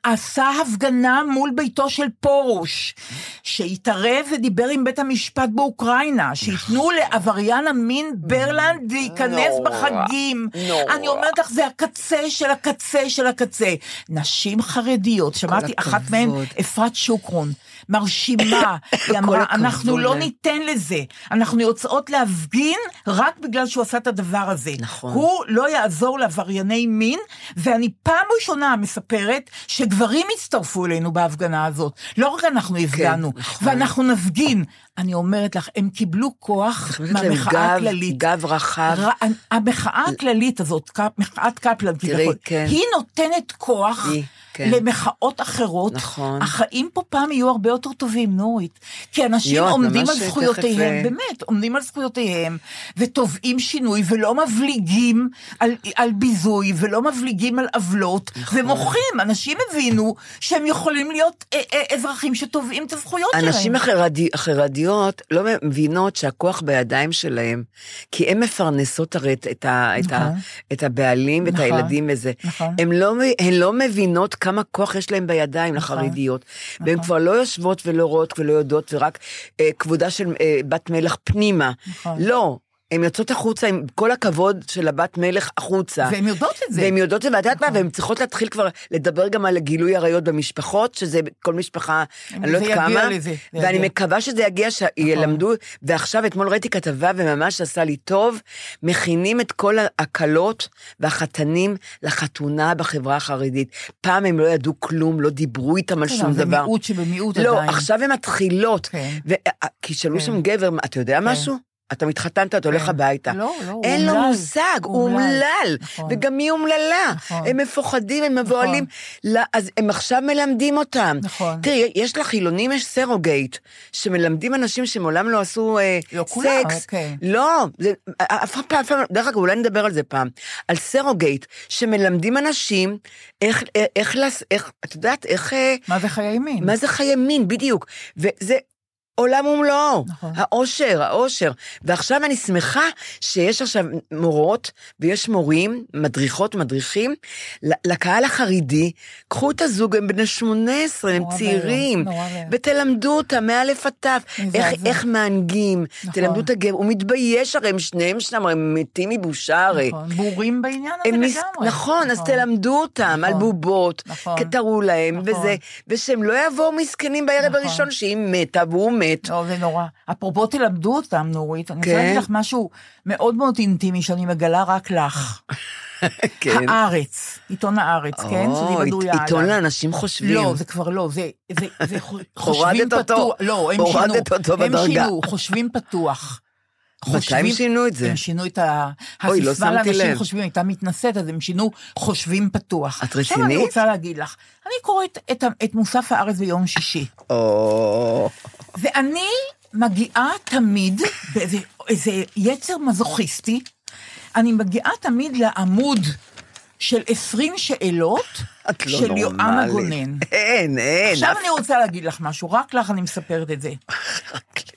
S3: ה- עשה הפגנה מול ביתו של פרוש, שהתערב ודיבר עם בית המשפט באוקראינה, שייתנו לעבריין המין ברלנד להיכנס
S4: נכון. נורא,
S3: בחגים.
S4: נורא.
S3: אני אומרת לך, זה הקצה של הקצה של הקצה. נשים חרדיות, שמעתי אחת
S4: הכבוד.
S3: מהן, אפרת שוקרון, מרשימה, היא אמרה,
S4: הכבוד
S3: אנחנו לא
S4: לה."
S3: ניתן לזה, אנחנו יוצאות להפגין רק בגלל שהוא עשה את הדבר הזה.
S4: נכון.
S3: הוא לא יעזור לעברייני מין, ואני פעם ראשונה מספרת שגברים הצטרפו אלינו בהפגנה הזאת. לא רק אנחנו הפגנו,
S4: נכון.
S3: ואנחנו נפגין. אני אומרת לך, הם קיבלו כוח
S4: את אומרת להם,
S3: מהמחאה
S4: גב-
S3: הכללית.
S4: גב רחב.
S3: ר- אה, המחאה הכללית הזאת, ק- מחאת קפלן,
S4: תראי,
S3: כביכול,
S4: כן.
S3: היא נותנת כוח
S4: היא, כן.
S3: למחאות אחרות.
S4: נכון.
S3: החיים פה פעם יהיו הרבה יותר טובים, נורית. כי אנשים
S4: יואו, את
S3: עומדים
S4: ממש
S3: על
S4: תכף,
S3: זכויותיהם,
S4: אה,
S3: באמת, עומדים על זכויותיהם, ותובעים שינוי, ולא מבליגים על, על ביזוי, ולא מבליגים על עוולות,
S4: נכון.
S3: ומוחים. אנשים הבינו שהם יכולים להיות אה, אה, אזרחים שתובעים את הזכויות שלהם.
S4: הנשים החרדי- החרדיות לא מבינות שהכוח בידיים שלהם, כי הן מפרנסות הרי את, את, ה, את, ה,
S3: נכון.
S4: את הבעלים ואת
S3: נכון.
S4: הילדים וזה.
S3: נכון.
S4: הן לא, מ- הן לא מבינות כמה כוח יש להן בידיים
S3: נכון.
S4: לחרדיות, והן כבר לא יושבות ולא רואות ולא יודעות, ורק אה, כבודה של אה, בת מלך פנימה.
S3: נכון.
S4: לא. הן יוצאות החוצה עם כל הכבוד של הבת מלך החוצה.
S3: והן יודעות את זה. נכון.
S4: והן יודעות את זה, ואת יודעת מה, והן צריכות להתחיל כבר לדבר גם על גילוי עריות במשפחות, שזה כל משפחה, אני לא
S3: זה
S4: יודעת
S3: יגיע
S4: כמה,
S3: לזה, זה
S4: ואני
S3: יגיע. נכון.
S4: מקווה שזה יגיע, שילמדו, ועכשיו אתמול ראיתי כתבה וממש עשה לי טוב, מכינים את כל הכלות והחתנים לחתונה בחברה החרדית. פעם הם לא ידעו כלום, לא דיברו איתם על
S3: כן,
S4: שום
S3: אבל זה
S4: דבר.
S3: מיעוט שבמיעוט
S4: לא,
S3: עדיין.
S4: עכשיו הן מתחילות,
S3: כן.
S4: ו- אה, כי שאלו
S3: כן.
S4: שם גבר, אתה יודע משהו? אתה מתחתנת, אתה הולך
S3: כן.
S4: הביתה.
S3: לא, לא, הוא
S4: אין לו
S3: אומלל.
S4: מושג, הוא
S3: אומלל.
S4: אומלל.
S3: נכון.
S4: וגם היא אומללה.
S3: נכון.
S4: הם מפוחדים, הם מבוהלים. לא, אז הם עכשיו מלמדים אותם.
S3: נכון.
S4: תראי, יש לחילונים, יש סרוגייט, שמלמדים אנשים שמעולם לא עשו אה,
S3: לא כולם,
S4: סקס.
S3: אוקיי.
S4: לא, זה, אף פעם, אף פעם, דרך אגב, אולי נדבר על זה פעם. על סרוגייט, שמלמדים אנשים איך, איך, איך, לעש- איך את יודעת, איך... אה,
S3: מה זה חיי מין?
S4: מה זה חיי מין, בדיוק. וזה עולם ומלואו.
S3: נכון.
S4: האושר, האושר. ועכשיו אני שמחה שיש עכשיו מורות ויש מורים, מדריכות, מדריכים, ל- לקהל החרדי, קחו את הזוג, הם בני 18, הם
S3: נורא
S4: צעירים,
S3: ואיום, נורא ואיום.
S4: ותלמדו אותם מאלף עד תף,
S3: מזעזע.
S4: איך- איך מהנגים,
S3: נכון.
S4: תלמדו את הגבר, הוא מתבייש הרי, הם שניהם שם, הרי הם מתים מבושה הרי.
S3: נכון, בורים בעניין הזה
S4: הם מס...
S3: לגמרי.
S4: נכון, אז תלמדו אותם על
S3: נכון.
S4: בובות,
S3: נכון.
S4: כי תראו להם,
S3: נכון.
S4: וזה, ושהם לא יבואו מסכנים בערב
S3: נכון.
S4: הראשון שהיא מתה והוא מת.
S3: לא, זה נורא. אפרופו תלמדו אותם, נורית, אני רוצה
S4: כן.
S3: להגיד לך משהו מאוד מאוד אינטימי שאני מגלה רק לך.
S4: כן.
S3: הארץ, עיתון הארץ, כן?
S4: או,
S3: שלי בדויה
S4: עית- עיתון
S3: עליו.
S4: לאנשים חושבים.
S3: לא, זה כבר לא, זה, זה, זה חו- חושבים
S4: הורדת אותו.
S3: פתוח. לא, הם שינו.
S4: הורדת אותו בדרגה.
S3: הם שינו, חושבים פתוח.
S4: מתי הם שינו את זה?
S3: הם שינו את ה...
S4: אוי, לא
S3: הסיסמה
S4: שמתי
S3: לאנשים
S4: לב.
S3: חושבים, הייתה מתנשאת, אז הם שינו חושבים פתוח.
S4: את
S3: עכשיו אני
S4: רצינית?
S3: רוצה להגיד לך, אני קוראת את, ה- את מוסף הארץ ביום שישי.
S4: או,
S3: ואני מגיעה תמיד, באיזה איזה יצר מזוכיסטי, אני מגיעה תמיד לעמוד של 20 שאלות
S4: את לא
S3: של יואם
S4: נורמלית.
S3: הגונן.
S4: אין, אין.
S3: עכשיו
S4: כן, אף-
S3: אני רוצה להגיד לך משהו, רק לך אני מספרת את זה.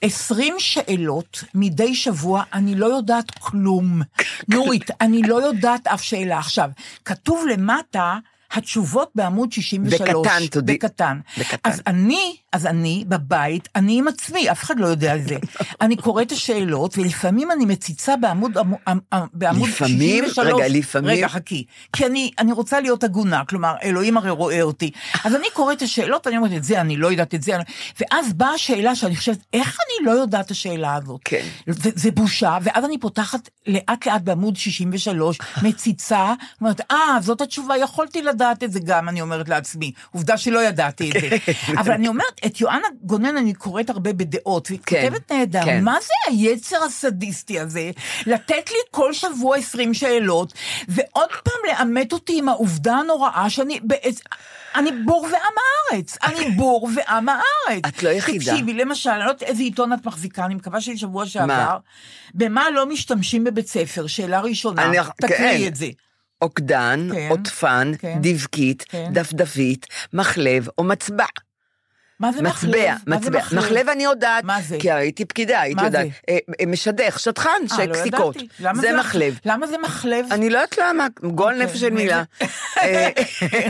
S3: 20 שאלות מדי שבוע, אני לא יודעת כלום. נורית, אני לא יודעת אף שאלה. עכשיו, כתוב למטה... התשובות בעמוד 63.
S4: בקטן, תודי.
S3: בקטן.
S4: בקטן.
S3: אז אני, אז אני בבית, אני עם עצמי, אף אחד לא יודע על זה. אני קוראת את השאלות, ולפעמים אני מציצה בעמוד, עמוד, בעמוד
S4: לפעמים?
S3: 63.
S4: רגע, לפעמים?
S3: רגע, חכי. כי אני, אני רוצה להיות הגונה, כלומר, אלוהים הרי רואה אותי. אז אני קוראת את השאלות, ואני אומרת, את זה אני לא יודעת, את זה אני... ואז באה השאלה שאני חושבת, איך אני לא יודעת את השאלה הזאת?
S4: כן.
S3: זה, זה בושה, ואז אני פותחת לאט לאט בעמוד 63, מציצה, אומרת, אה, זאת התשובה, יכולתי לדעת את זה גם, אני אומרת לעצמי. עובדה שלא ידעתי את זה.
S4: כן.
S3: אבל אני אומרת, את יואנה גונן אני קוראת הרבה בדעות, והיא
S4: כן,
S3: כותבת נהדר.
S4: כן.
S3: מה זה היצר הסדיסטי הזה? לתת לי כל שבוע 20 שאלות, ועוד פעם לעמת אותי עם העובדה הנוראה שאני... בעצ- אני בור ועם הארץ, אני בור ועם הארץ.
S4: אוקיי. את לא יחידה.
S3: תקשיבי, למשל, אני לא יודעת איזה עיתון את מחזיקה, אני מקווה שבשבוע שעבר. במה לא משתמשים בבית ספר? שאלה ראשונה,
S4: אני- כן.
S3: תקריאי את זה.
S4: עוקדן,
S3: כן.
S4: עוטפן,
S3: כן.
S4: דבקית,
S3: כן.
S4: דפדפית, מחלב או מצבע.
S3: מה זה מחלב?
S4: מצבע,
S3: מה זה
S4: מצבע. מחלב אני יודעת.
S3: מה זה?
S4: כי הרי הייתי פקידה, הייתי
S3: מה
S4: יודעת.
S3: זה?
S4: אה, אה, משדך, שטחן,
S3: אה, לא
S4: שקסיקות.
S3: ידעתי. למה
S4: זה מחלב.
S3: למה זה מחלב?
S4: אני לא יודעת למה, גועל נפש של מילה. אה,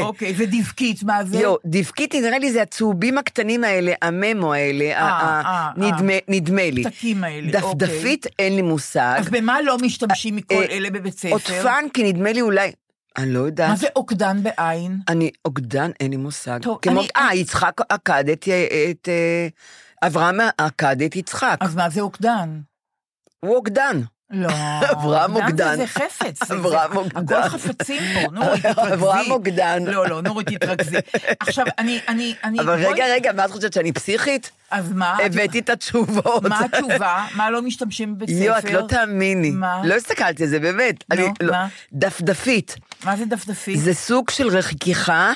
S3: אוקיי, ודבקית, מה זה?
S4: יו, דבקיתי, נראה לי זה הצהובים הקטנים האלה, הממו האלה, ה- ה-
S3: אה,
S4: נדמה-
S3: אה.
S4: נדמה לי.
S3: הפתקים האלה, אוקיי.
S4: דפדפית אין לי מושג.
S3: אז במה לא משתמשים מכל
S4: אה,
S3: אלה בבית ספר?
S4: עוטפן, כי נדמה לי אולי, אני לא
S3: מה
S4: יודעת.
S3: זה עוקדן בעין?
S4: אני עוקדן, אין לי מושג.
S3: טוב,
S4: כמו-
S3: אני-
S4: אה, יצחק עקדת, אה, את... אה, אברהם עקד את יצחק.
S3: אז מה זה עוקדן?
S4: הוא עוקדן.
S3: לא.
S4: אברהם
S3: עוקדן
S4: עוקדן.
S3: זה- זה חפץ. זה-
S4: אברהם
S3: זה-
S4: עוקדן.
S3: הכל חפצים פה, נורית, תתרכזי.
S4: אברהם עוקדן.
S3: לא, לא, נורית, תתרכזי. עכשיו, אני, אני, אני...
S4: אבל
S3: בואי-
S4: רגע, רגע, מה את חושבת, שאני פסיכית?
S3: אז מה?
S4: הבאתי את התשובות.
S3: מה התשובה? מה לא משתמשים בבית ספר?
S4: יו, את לא תאמיני.
S3: מה?
S4: לא הסתכלתי על זה, באמת.
S3: נו,
S4: אני לא-
S3: מה?
S4: דפדפית.
S3: מה זה דפדפית?
S4: זה סוג של רכיכה,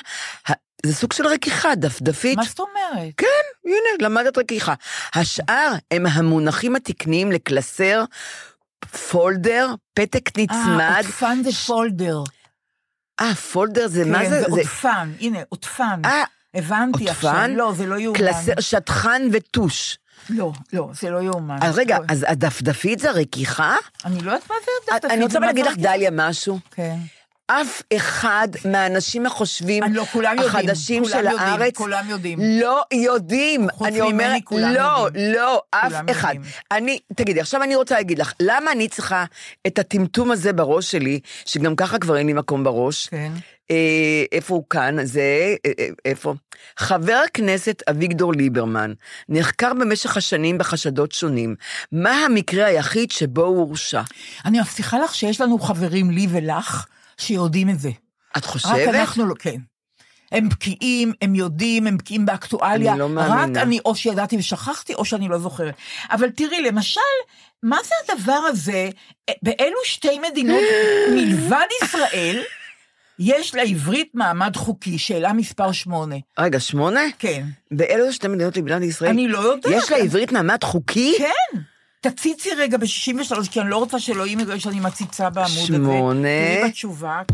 S4: ה- זה סוג של רכיכה, דפדפית.
S3: מה זאת אומרת?
S4: כן, הנה, למדת רכיכה. השאר הם המונחים התקניים לקלסר, פולדר, פתק
S3: אה,
S4: נצמד.
S3: עוטפן זה פולדר.
S4: אה, פולדר זה מה
S3: כן,
S4: זה?
S3: זה
S4: זה
S3: עוטפן, הנה, עוטפן.
S4: אה,
S3: הבנתי עכשיו.
S4: עוטפן?
S3: לא, זה לא יאומן.
S4: קלסר, שטחן וטוש.
S3: לא, לא, זה לא יאומן.
S4: אז רגע,
S3: לא,
S4: אז הדפדפית זה רכיכה?
S3: אני לא יודעת מה זה
S4: את-
S3: הדפדפית.
S4: אני רוצה
S3: ומה
S4: להגיד
S3: זה
S4: לך,
S3: הדפדפית.
S4: דליה, משהו.
S3: כן.
S4: אף אחד מהאנשים החושבים,
S3: אני לא, כולם יודעים,
S4: החדשים
S3: כולם
S4: של
S3: יודעים,
S4: הארץ,
S3: כולם יודעים.
S4: לא יודעים.
S3: חוץ
S4: אני אומרת,
S3: ממני, כולם
S4: לא,
S3: יודעים.
S4: לא, אף
S3: כולם
S4: אחד.
S3: יודעים.
S4: אני, תגידי, עכשיו אני רוצה להגיד לך, למה אני צריכה את הטמטום הזה בראש שלי, שגם ככה כבר אין לי מקום בראש?
S3: כן.
S4: אה, איפה הוא כאן? זה, אה, אה, איפה? חבר הכנסת אביגדור ליברמן נחקר במשך השנים בחשדות שונים. מה המקרה היחיד שבו הוא הורשע?
S3: אני מבטיחה לך שיש לנו חברים, לי ולך, שיודעים את זה.
S4: את חושבת?
S3: רק אנחנו לא, כן. הם בקיאים, הם יודעים, הם בקיאים באקטואליה.
S4: אני לא מאמינה.
S3: רק אני או שידעתי ושכחתי, או שאני לא זוכרת. אבל תראי, למשל, מה זה הדבר הזה, אה, באילו שתי מדינות מלבד ישראל, יש לעברית מעמד חוקי, שאלה מספר שמונה.
S4: רגע, שמונה?
S3: כן.
S4: באלו שתי מדינות לבנת ישראל?
S3: אני לא יודעת.
S4: יש לעברית מעמד חוקי?
S3: כן. תציצי רגע ב-63, כי אני לא רוצה שאלוהים יראה שאני מציצה בעמוד הזה.
S4: שמונה.
S3: תראי בתשובה. כן.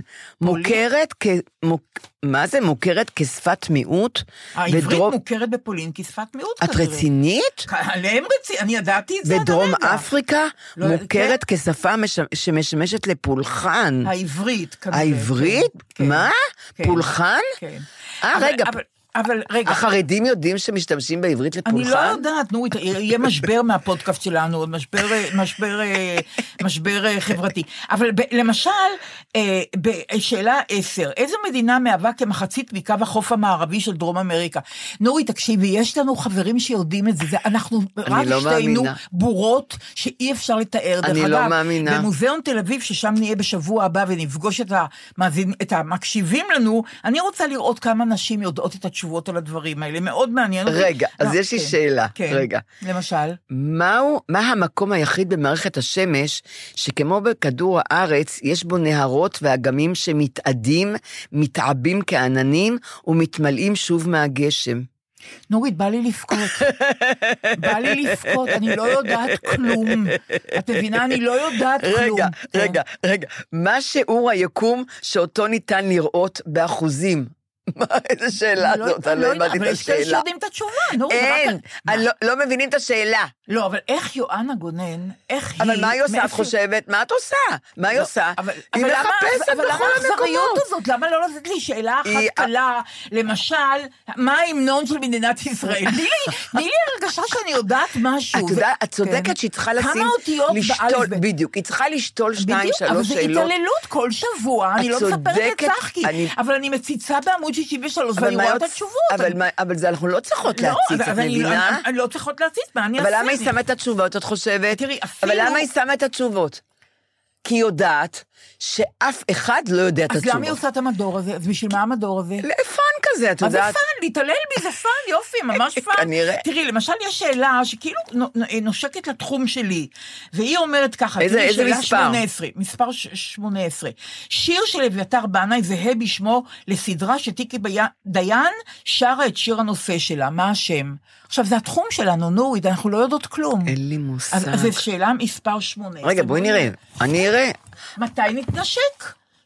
S3: פולין.
S4: מוכרת כ... מוק... מה זה מוכרת כשפת מיעוט?
S3: העברית
S4: בדרום-
S3: מוכרת בפולין כשפת מיעוט
S4: את
S3: כנראה.
S4: רצינית?
S3: עליהם רצינית, אני ידעתי את זה עד
S4: בדרום
S3: הרגע.
S4: אפריקה
S3: לא,
S4: מוכרת כשפה מש... שמשמשת לפולחן.
S3: העברית כנראה.
S4: העברית?
S3: כן,
S4: מה?
S3: כן,
S4: פולחן?
S3: כן.
S4: אה,
S3: אבל-
S4: רגע,
S3: אבל- אבל רגע,
S4: החרדים יודעים שמשתמשים בעברית
S3: אני לא
S4: לפולחן?
S3: יודעת, נו, ית- יהיה משבר מהפודקאסט שלנו, עוד משבר, אה, משבר, אה, משבר אה, חברתי. אבל ב, למשל, אה, בשאלה 10, איזו מדינה מהווה כמחצית מקו החוף המערבי של דרום אמריקה? נורי, תקשיבי, יש לנו חברים שיודעים את זה, זה אנחנו, רק
S4: לא
S3: שתינו
S4: מאמינה.
S3: בורות שאי אפשר לתאר. דרך
S4: אני לא
S3: אגב,
S4: מאמינה.
S3: במוזיאון תל אביב, ששם נהיה בשבוע הבא ונפגוש את, המאזין, את המקשיבים לנו, אני רוצה לראות כמה נשים יודעות את התשובות על הדברים האלה, מאוד מעניין אותי.
S4: רגע, אז
S3: לא,
S4: יש לי
S3: כן.
S4: שאלה.
S3: כן,
S4: רגע.
S3: למשל,
S4: מהו, מה המקום היחיד במערכת השמש שכמו בכדור הארץ יש בו נהרות ואגמים שמתאדים, מתעבים כעננים ומתמלאים שוב מהגשם?
S3: נורית, בא לי לבכות. בא לי לבכות, אני לא יודעת כלום. את מבינה? אני לא יודעת כלום.
S4: רגע,
S3: כן.
S4: רגע, רגע, מה שיעור היקום שאותו ניתן לראות באחוזים? מה, איזה שאלה
S3: כן. אני
S4: זאת?
S3: אני
S4: אני לא
S3: יודעת,
S4: הבנתי את
S3: אבל יש כאלה
S4: השאלה.
S3: שיודעים את התשובה, נורית. זה רק-
S4: אין, אני לא- לא מבינים את השאלה.
S3: לא, אבל איך יואנה גונן, איך היא...
S4: אבל מה היא עושה? את
S3: מאיפה-
S4: חושבת? מה את עושה? מה היא
S3: לא,
S4: עושה?
S3: אבל-
S4: היא
S3: אבל למה-
S4: מחפשת
S3: אבל למה
S4: בכל
S3: האכזריות
S4: המקומות.
S3: הזאת? למה לא לתת לי שאלה אחת
S4: היא-
S3: קלה? למשל, מה ההמנון של מדינת ישראל? תני לי- תני לי הרגשה שאני יודעת משהו.
S4: את
S3: זה-
S4: יודעת, את
S3: כן.
S4: צודקת שהיא צריכה לשים...
S3: כמה אותיות
S4: לשתול,
S3: באלף-בית?
S4: בדיוק, היא צריכה לשתול שתיים,
S3: בדיוק, אבל
S4: שלוש
S3: זה
S4: שאלות.
S3: התעללות כל שבוע, אני לא מספרת את
S4: צודקת,
S3: צחקי,
S4: אני-
S3: אבל אני מציצה בעמוד 63
S4: אבל
S3: ואני
S4: מה
S3: רואה
S4: עוד-
S3: את התשובות.
S4: אבל
S3: אני-
S4: מה- אבל זה אנחנו לא צריכות
S3: לא,
S4: להציץ,
S3: אז-
S4: את
S3: אז אני לא-
S4: מבינה?
S3: אני- אני לא צריכות להציץ, מה אני אעשה?
S4: אבל למה היא
S3: אני-
S4: שמה את התשובות, את חושבת?
S3: תראי, אפילו-
S4: אבל למה היא שמה את התשובות? כי היא יודעת שאף אחד לא יודע את
S3: אז
S4: התשובות.
S3: למה היא עושה את המדור הזה? אז בשביל מה המדור הזה?
S4: לפאן כזה, את
S3: אז זה
S4: יודעת.
S3: פאן, להתעלל בי זה פאן, יופי, ממש פאן.
S4: כנראה.
S3: תראי, למשל יש שאלה שכאילו נו- נו- נושקת לתחום שלי, והיא אומרת ככה,
S4: איזה-
S3: תראי,
S4: איזה
S3: שאלה
S4: מספר?
S3: 18, מספר ש- 18. שיר של אביתר בנאי זהה בשמו לסדרה שטיקי בי- דיין שרה את שיר הנושא שלה, מה השם? עכשיו, זה התחום שלנו, נורית, אנחנו לא יודעות כלום.
S4: אין לי מושג.
S3: אז אז זו שאלה מספר 18.
S4: רגע, בואי נראה. אני אראה.
S3: מתי נתנשק?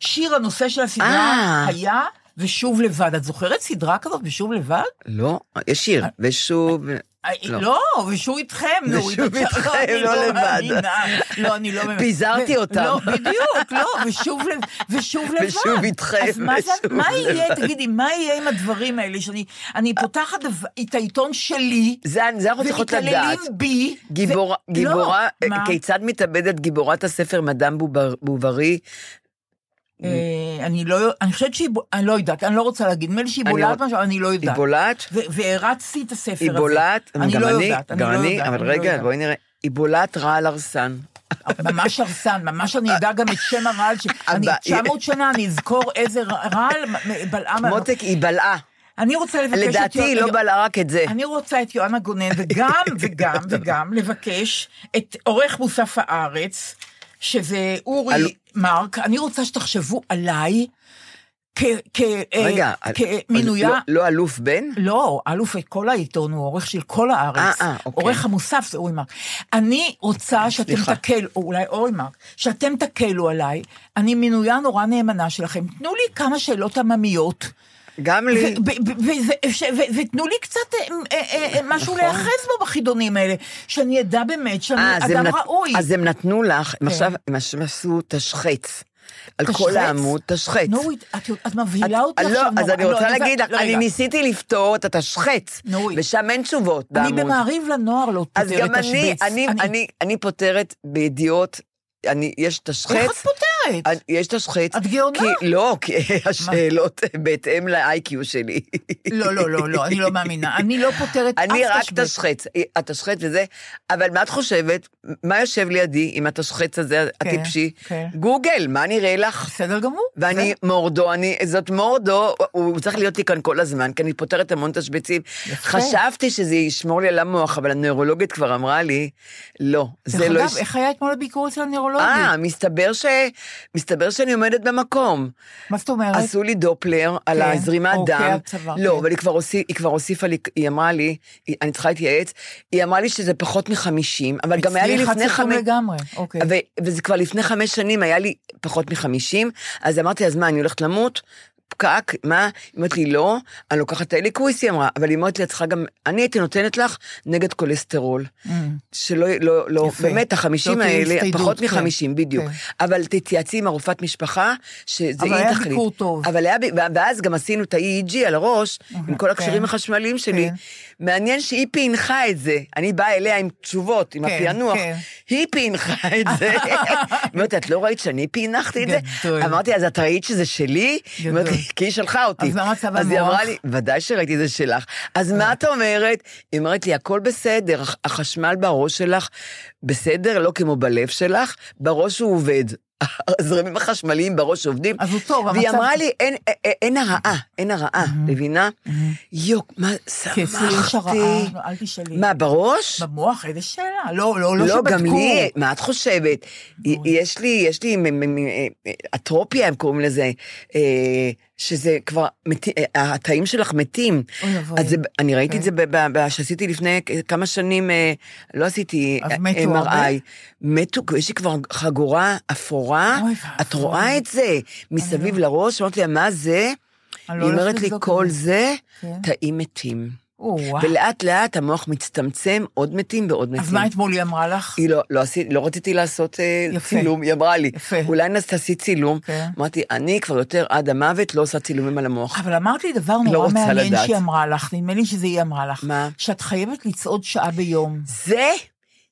S3: שיר הנושא של הסדרה
S4: אה.
S3: היה ושוב לבד. את זוכרת סדרה כזאת ושוב לבד?
S4: לא, יש שיר. ושוב... לא.
S3: לא, ושהוא איתכם, נו,
S4: ושהוא
S3: איתכם,
S4: איתכם,
S3: אני
S4: לא לבד.
S3: מאמינה. לא, אני לא מבינה.
S4: פיזרתי
S3: ו-
S4: אותם.
S3: לא, בדיוק, לא, ושוב לבד. ושוב לבד.
S4: ושוב איתכם,
S3: אז מה זה-
S4: ושוב
S3: מה יהיה,
S4: לבד.
S3: תגידי, מה יהיה עם הדברים האלה שאני אני פותחת דו- את העיתון שלי,
S4: זה זה אנחנו צריכות לדעת.
S3: ומתעללים בי.
S4: גיבור,
S3: ו-
S4: גיבורה, אה,
S3: לא, מה?
S4: כיצד מתאבדת גיבורת הספר מדאם בובר- בוברי?
S3: אה, אני לא, אני חושבת שהיא, בו- אני לא יודעת, אני לא רוצה להגיד, נדמה לי שהיא
S4: אני
S3: בולעת
S4: רוצ-
S3: משהו, אני לא
S4: היא
S3: יודעת.
S4: בולעת?
S3: ו- והרצתי את הספר
S4: היא
S3: הזה.
S4: בולעת?
S3: אני
S4: גם
S3: לא
S4: אני,
S3: יודעת, אני
S4: גם
S3: לא
S4: אני,
S3: יודעת,
S4: אבל
S3: אני לא
S4: רגע,
S3: יודעת.
S4: בואי נראה. היא בולעת רעל הרסן.
S3: ממש הרסן, ממש אני אדע גם את שם הרעל, ש- אני
S4: אבא,
S3: 900 שנה אני אזכור איזה רעל מ- בלעה. מה-
S4: מותק, היא בלעה.
S3: אני רוצה לבקש את
S4: לדעתי היא
S3: יוה-
S4: לא בלעה רק את זה.
S3: אני רוצה את יואנה גונן, וגם, וגם, וגם, לבקש את עורך מוסף הארץ, שזה אורי
S4: על-
S3: מרק, אני רוצה שתחשבו עליי אה,
S4: רגע, אל-
S3: כמינויה...
S4: לא- לא אלוף בן?
S3: לא, אלוף כל העיתון הוא עורך של כל הארץ.
S4: אה, אה, אוקיי. אה,
S3: עורך המוסף זה אורי מרק. אני רוצה שאתם
S4: סליחה.
S3: תקלו, או אולי אורי מרק, שאתם תקלו עליי, אני מינויה נורא נאמנה שלכם. תנו לי כמה שאלות עממיות.
S4: גם לי.
S3: ו- ו- ו- וזה- ש- ו- ותנו לי קצת אה, אה,
S4: נכון.
S3: אה, אה, משהו להיאחז בו בחידונים האלה, שאני אדע באמת שאני
S4: אה, אז הם
S3: אדם
S4: נת-
S3: ראוי. כן.
S4: אז הם נתנו לך, הם עכשיו הם עכשיו עשו תשחץ. על
S3: תשחץ?
S4: כל העמוד תשחץ.
S3: נורית, את יודעת, את מבהילה אותי
S4: לא,
S3: עכשיו.
S4: אז
S3: נורא.
S4: אני רוצה
S3: זה-
S4: להגיד לך,
S3: לא, רגע.
S4: אני ניסיתי לפתור את התשחץ,
S3: נורית.
S4: ושם אין תשובות
S3: אני
S4: בעמוד.
S3: במעריב לנוער לא
S4: אז
S3: פותרת
S4: גם אני,
S3: תשבץ.
S4: אני, אני, אני פותרת בידיעות, אני, יש
S3: איך את
S4: תשחץ,
S3: פותרת? השחית.
S4: אני- יש תשחית.
S3: לא את גאונה.
S4: כי, לא, כי השאלות בהתאם ל-IQ שלי.
S3: לא, לא, לא, לא, אני לא מאמינה. אני לא פותרת אף
S4: אני רק
S3: תשבץ.
S4: תשחץ, התשחץ וזה, אבל מה את חושבת? מה יושב לידי עם התשחץ הזה הטיפשי?
S3: כן.
S4: גוגל, מה נראה לך?
S3: בסדר גמור.
S4: ואני
S3: זה-
S4: מורדו, אני, זאת מורדו, הוא צריך להיות לי כאן כל הזמן, כי אני פותרת המון תשבצים.
S3: יפה.
S4: חשבתי שזה ישמור לי על המוח, אבל הנוירולוגית כבר אמרה לי, לא, זה לא...
S3: דרך אגב,
S4: יש-
S3: איך היה אתמול הביקור אצל הנוירולוגית?
S4: אה, מסתבר ש... מסתבר שאני עומדת במקום.
S3: מה זאת אומרת?
S4: עשו לי דופלר על
S3: כן,
S4: הזרימת
S3: אוקיי,
S4: דם.
S3: הצוואר,
S4: לא,
S3: כן.
S4: אבל היא כבר, הוסיף, היא כבר הוסיפה לי, היא אמרה לי, היא, אני צריכה להתייעץ, היא אמרה לי שזה פחות מחמישים, אבל גם היה לי
S3: אצלי
S4: לפני
S3: אחד צפון
S4: חמש...
S3: לגמרי, אוקיי.
S4: ו- וזה כבר לפני חמש שנים, היה לי פחות מחמישים, אז אמרתי, אז מה, אני הולכת למות? פקק, מה? היא אומרת לי, לא, אני לוקחת את האליקוויס, היא אמרה, אבל היא אומרת לי, את צריכה גם, אני הייתי נותנת לך נגד כולסטרול. שלא, לא, לא,
S3: Mm. יפה.
S4: באמת, החמישים
S3: לא תהיה
S4: האלה,
S3: הצטיידות,
S4: פחות
S3: כן.
S4: מחמישים, בדיוק.
S3: כן.
S4: אבל תתייעצי עם הרופאת משפחה, שזה היא תחליט.
S3: אבל היה ביקור טוב.
S4: אבל היה, ב- ואז גם עשינו את ה-EEG על הראש, עם כל הקשרים
S3: כן.
S4: החשמליים שלי.
S3: כן.
S4: מעניין שהיא פענחה את זה. אני באה אליה עם תשובות, עם
S3: כן,
S4: הפענוח.
S3: כן.
S4: היא פענחה את זה. היא אומרת, את לא ראית שאני פענחתי את זה?
S3: גדול.
S4: אמרתי, אז את ראית שזה שלי? היא אומרת לי,
S3: גדול.
S4: כי היא שלחה אותי.
S3: אז מה מצב
S4: אז היא אמרה
S3: המוח?
S4: לי, ודאי שראיתי זה שלך. אז מה את אומרת? היא אומרת לי, הכל בסדר, הח- החשמל בראש שלך בסדר, לא כמו בלב שלך, בראש הוא עובד. הזרמים החשמליים בראש עובדים.
S3: אז הוא טוב,
S4: והיא
S3: המצב-
S4: אמרה לי, אין, א- א- אין הרעה, אין הרעה, מבינה? יוק, מה
S3: כי אצלי יש
S4: שמחתי.
S3: הרעה, אל תשאלי.
S4: מה, בראש?
S3: במוח, איזה שאלה. לא, לא, לא
S4: לא,
S3: שבדקו.
S4: גם לי, מה את חושבת? יש לי, יש לי מ- מ- מ- אה, אטרופיה, הם קוראים לזה, אה, שזה כבר, מתי- אה, התאים שלך מתים.
S3: אוי ואבוי.
S4: אז זה- אני ראיתי את זה
S3: אוקיי.
S4: ב- ב- ב- שעשיתי לפני כ- כמה שנים, אה, לא עשיתי
S3: אז
S4: אה,
S3: מתו הרבה?
S4: MRI. מתו, יש לי כבר חגורה אפורה,
S3: אוי
S4: את
S3: ואבוי. לא-
S4: רואה את זה מסביב לראש, אמרתי לה, מה זה?
S3: אני
S4: היא
S3: לא הולכת
S4: אומרת לי,
S3: לבדוק את
S4: כל
S3: זה."
S4: זה
S3: כן.
S4: תאים מתים.
S3: או-אה.
S4: ולאט לאט המוח מצטמצם, עוד מתים ועוד מתים.
S3: אז מה אתמול היא אמרה לך?
S4: היא לא, לא, עשית, לא רציתי לעשות אה,
S3: יפה.
S4: צילום, היא אמרה לי,
S3: יפה.
S4: אולי נס תעשי צילום.
S3: כן.
S4: אמרתי, אני כבר יותר עד המוות לא עושה צילומים על המוח.
S3: אבל אמרת לי דבר נורא
S4: לא רוצה
S3: מעניין
S4: לדעת.
S3: שהיא אמרה לך, נדמה לי שזה היא אמרה לך.
S4: מה?
S3: שאת חייבת לצעוד שעה ביום.
S4: זה,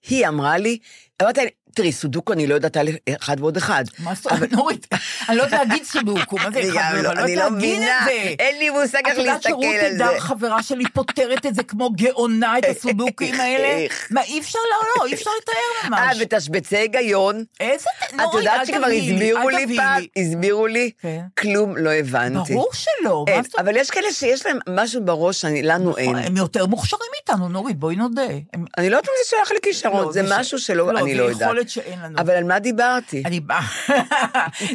S4: היא אמרה לי, אמרתי, לה, תראי, סודוקו אני לא יודעת על אחד ועוד אחד.
S3: מה זאת אומרת, נורית? אני לא יודעת להגיד סודוקו, מה זה
S4: אני גם
S3: חבר?
S4: לא,
S3: אני
S4: אני
S3: לא
S4: לא
S3: יודעת להגיד את
S4: מבינה,
S3: זה.
S4: אין לי מושג
S3: את
S4: איך
S3: יודעת
S4: להסתכל
S3: שרות
S4: על
S3: אדר,
S4: זה.
S3: חברה שלי, פותרת את זה כמו גאונה, את הסודוקים האלה?
S4: איך.
S3: מה, אי אפשר, לא, לא, אי אפשר לתאר
S4: אה,
S3: ממש.
S4: ותשבצי היגיון.
S3: איזה,
S4: את
S3: נורית, לא, אל
S4: יודעת שכבר
S3: תביאי לי,
S4: הסבירו
S3: אל
S4: לי
S3: תביאי
S4: פעם, הסבירו לי,
S3: כן.
S4: כלום לא הבנתי.
S3: ברור שלא, מה
S4: אין,
S3: זאת נכון. אומרת?
S4: אבל יש כאלה שיש להם משהו בראש, שאני- לנו אין.
S3: הם יותר מוכשרים מאיתנו, נורית, בואי נודה. הם-
S4: אני לא יודעת אם זה שייך לכישרון,
S3: לא,
S4: זה
S3: זה ש-
S4: משהו שלא,
S3: לא,
S4: אני
S3: זה
S4: לא יודעת.
S3: יכולת שאין לנו.
S4: אבל על מה דיברתי?
S3: אני באה,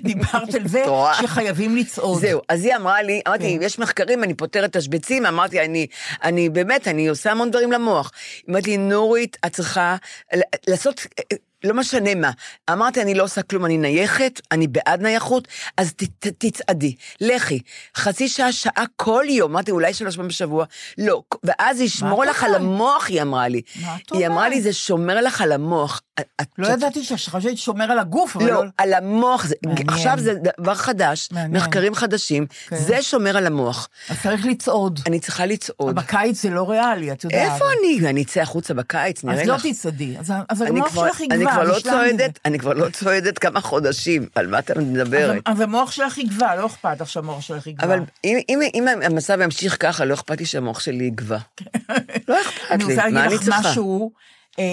S3: דיברת על זה
S4: את רואה?
S3: שחייבים לצעוד.
S4: זהו, אז היא אמרה לי, אמרתי,
S3: כן.
S4: יש מחקרים, אני פותרת תשבצים, אמרתי, אני, אני באמת, אני עושה המון דברים למוח. היא אמרת לי, נורית, את צריכה ל- לעשות... אה, אה, לא משנה מה. אמרתי, אני לא עושה כלום, אני נייחת, אני בעד נייחות, אז ת, ת, תצעדי, לכי. חצי שעה, שעה כל יום, אמרתי, אולי שלוש פעמים בשבוע. לא, ואז זה ישמור
S3: את
S4: לך על
S3: אומרת?
S4: המוח, היא אמרה לי.
S3: מה את
S4: היא אמרה
S3: אומרת?
S4: לי, זה שומר לך על המוח. את-
S3: לא
S4: את-
S3: ידעתי שחשבתי שומר על הגוף, אבל
S4: לא,
S3: לא...
S4: על המוח, זה-
S3: מעניין.
S4: עכשיו זה דבר חדש,
S3: מעניין.
S4: מחקרים חדשים,
S3: כן.
S4: זה שומר על המוח.
S3: אז צריך לצעוד.
S4: אני צריכה לצעוד.
S3: בקיץ זה לא ריאלי, את יודעת.
S4: איפה אני? אני אצא החוצה בקיץ, נראה
S3: אז לא
S4: לך.
S3: תצעדי, אז- אז
S4: אני
S3: המוח
S4: כבר-
S3: שלך יגבר,
S4: אני כבר לא
S3: השלמנו.
S4: צועדת, אני כבר לא צועדת כמה חודשים, על מה את
S3: אז-
S4: מדברת?
S3: אז המוח שלך יגבר, לא אכפת לך שהמוח שלך יגבר.
S4: אבל אם, אם, אם המצב ימשיך ככה, לא אכפת לי שהמוח שלי יגבה. לא אכפת
S3: אני
S4: לי,
S3: רוצה
S4: מה
S3: להגיד
S4: אני
S3: לך
S4: צריכה?
S3: משהו, אה,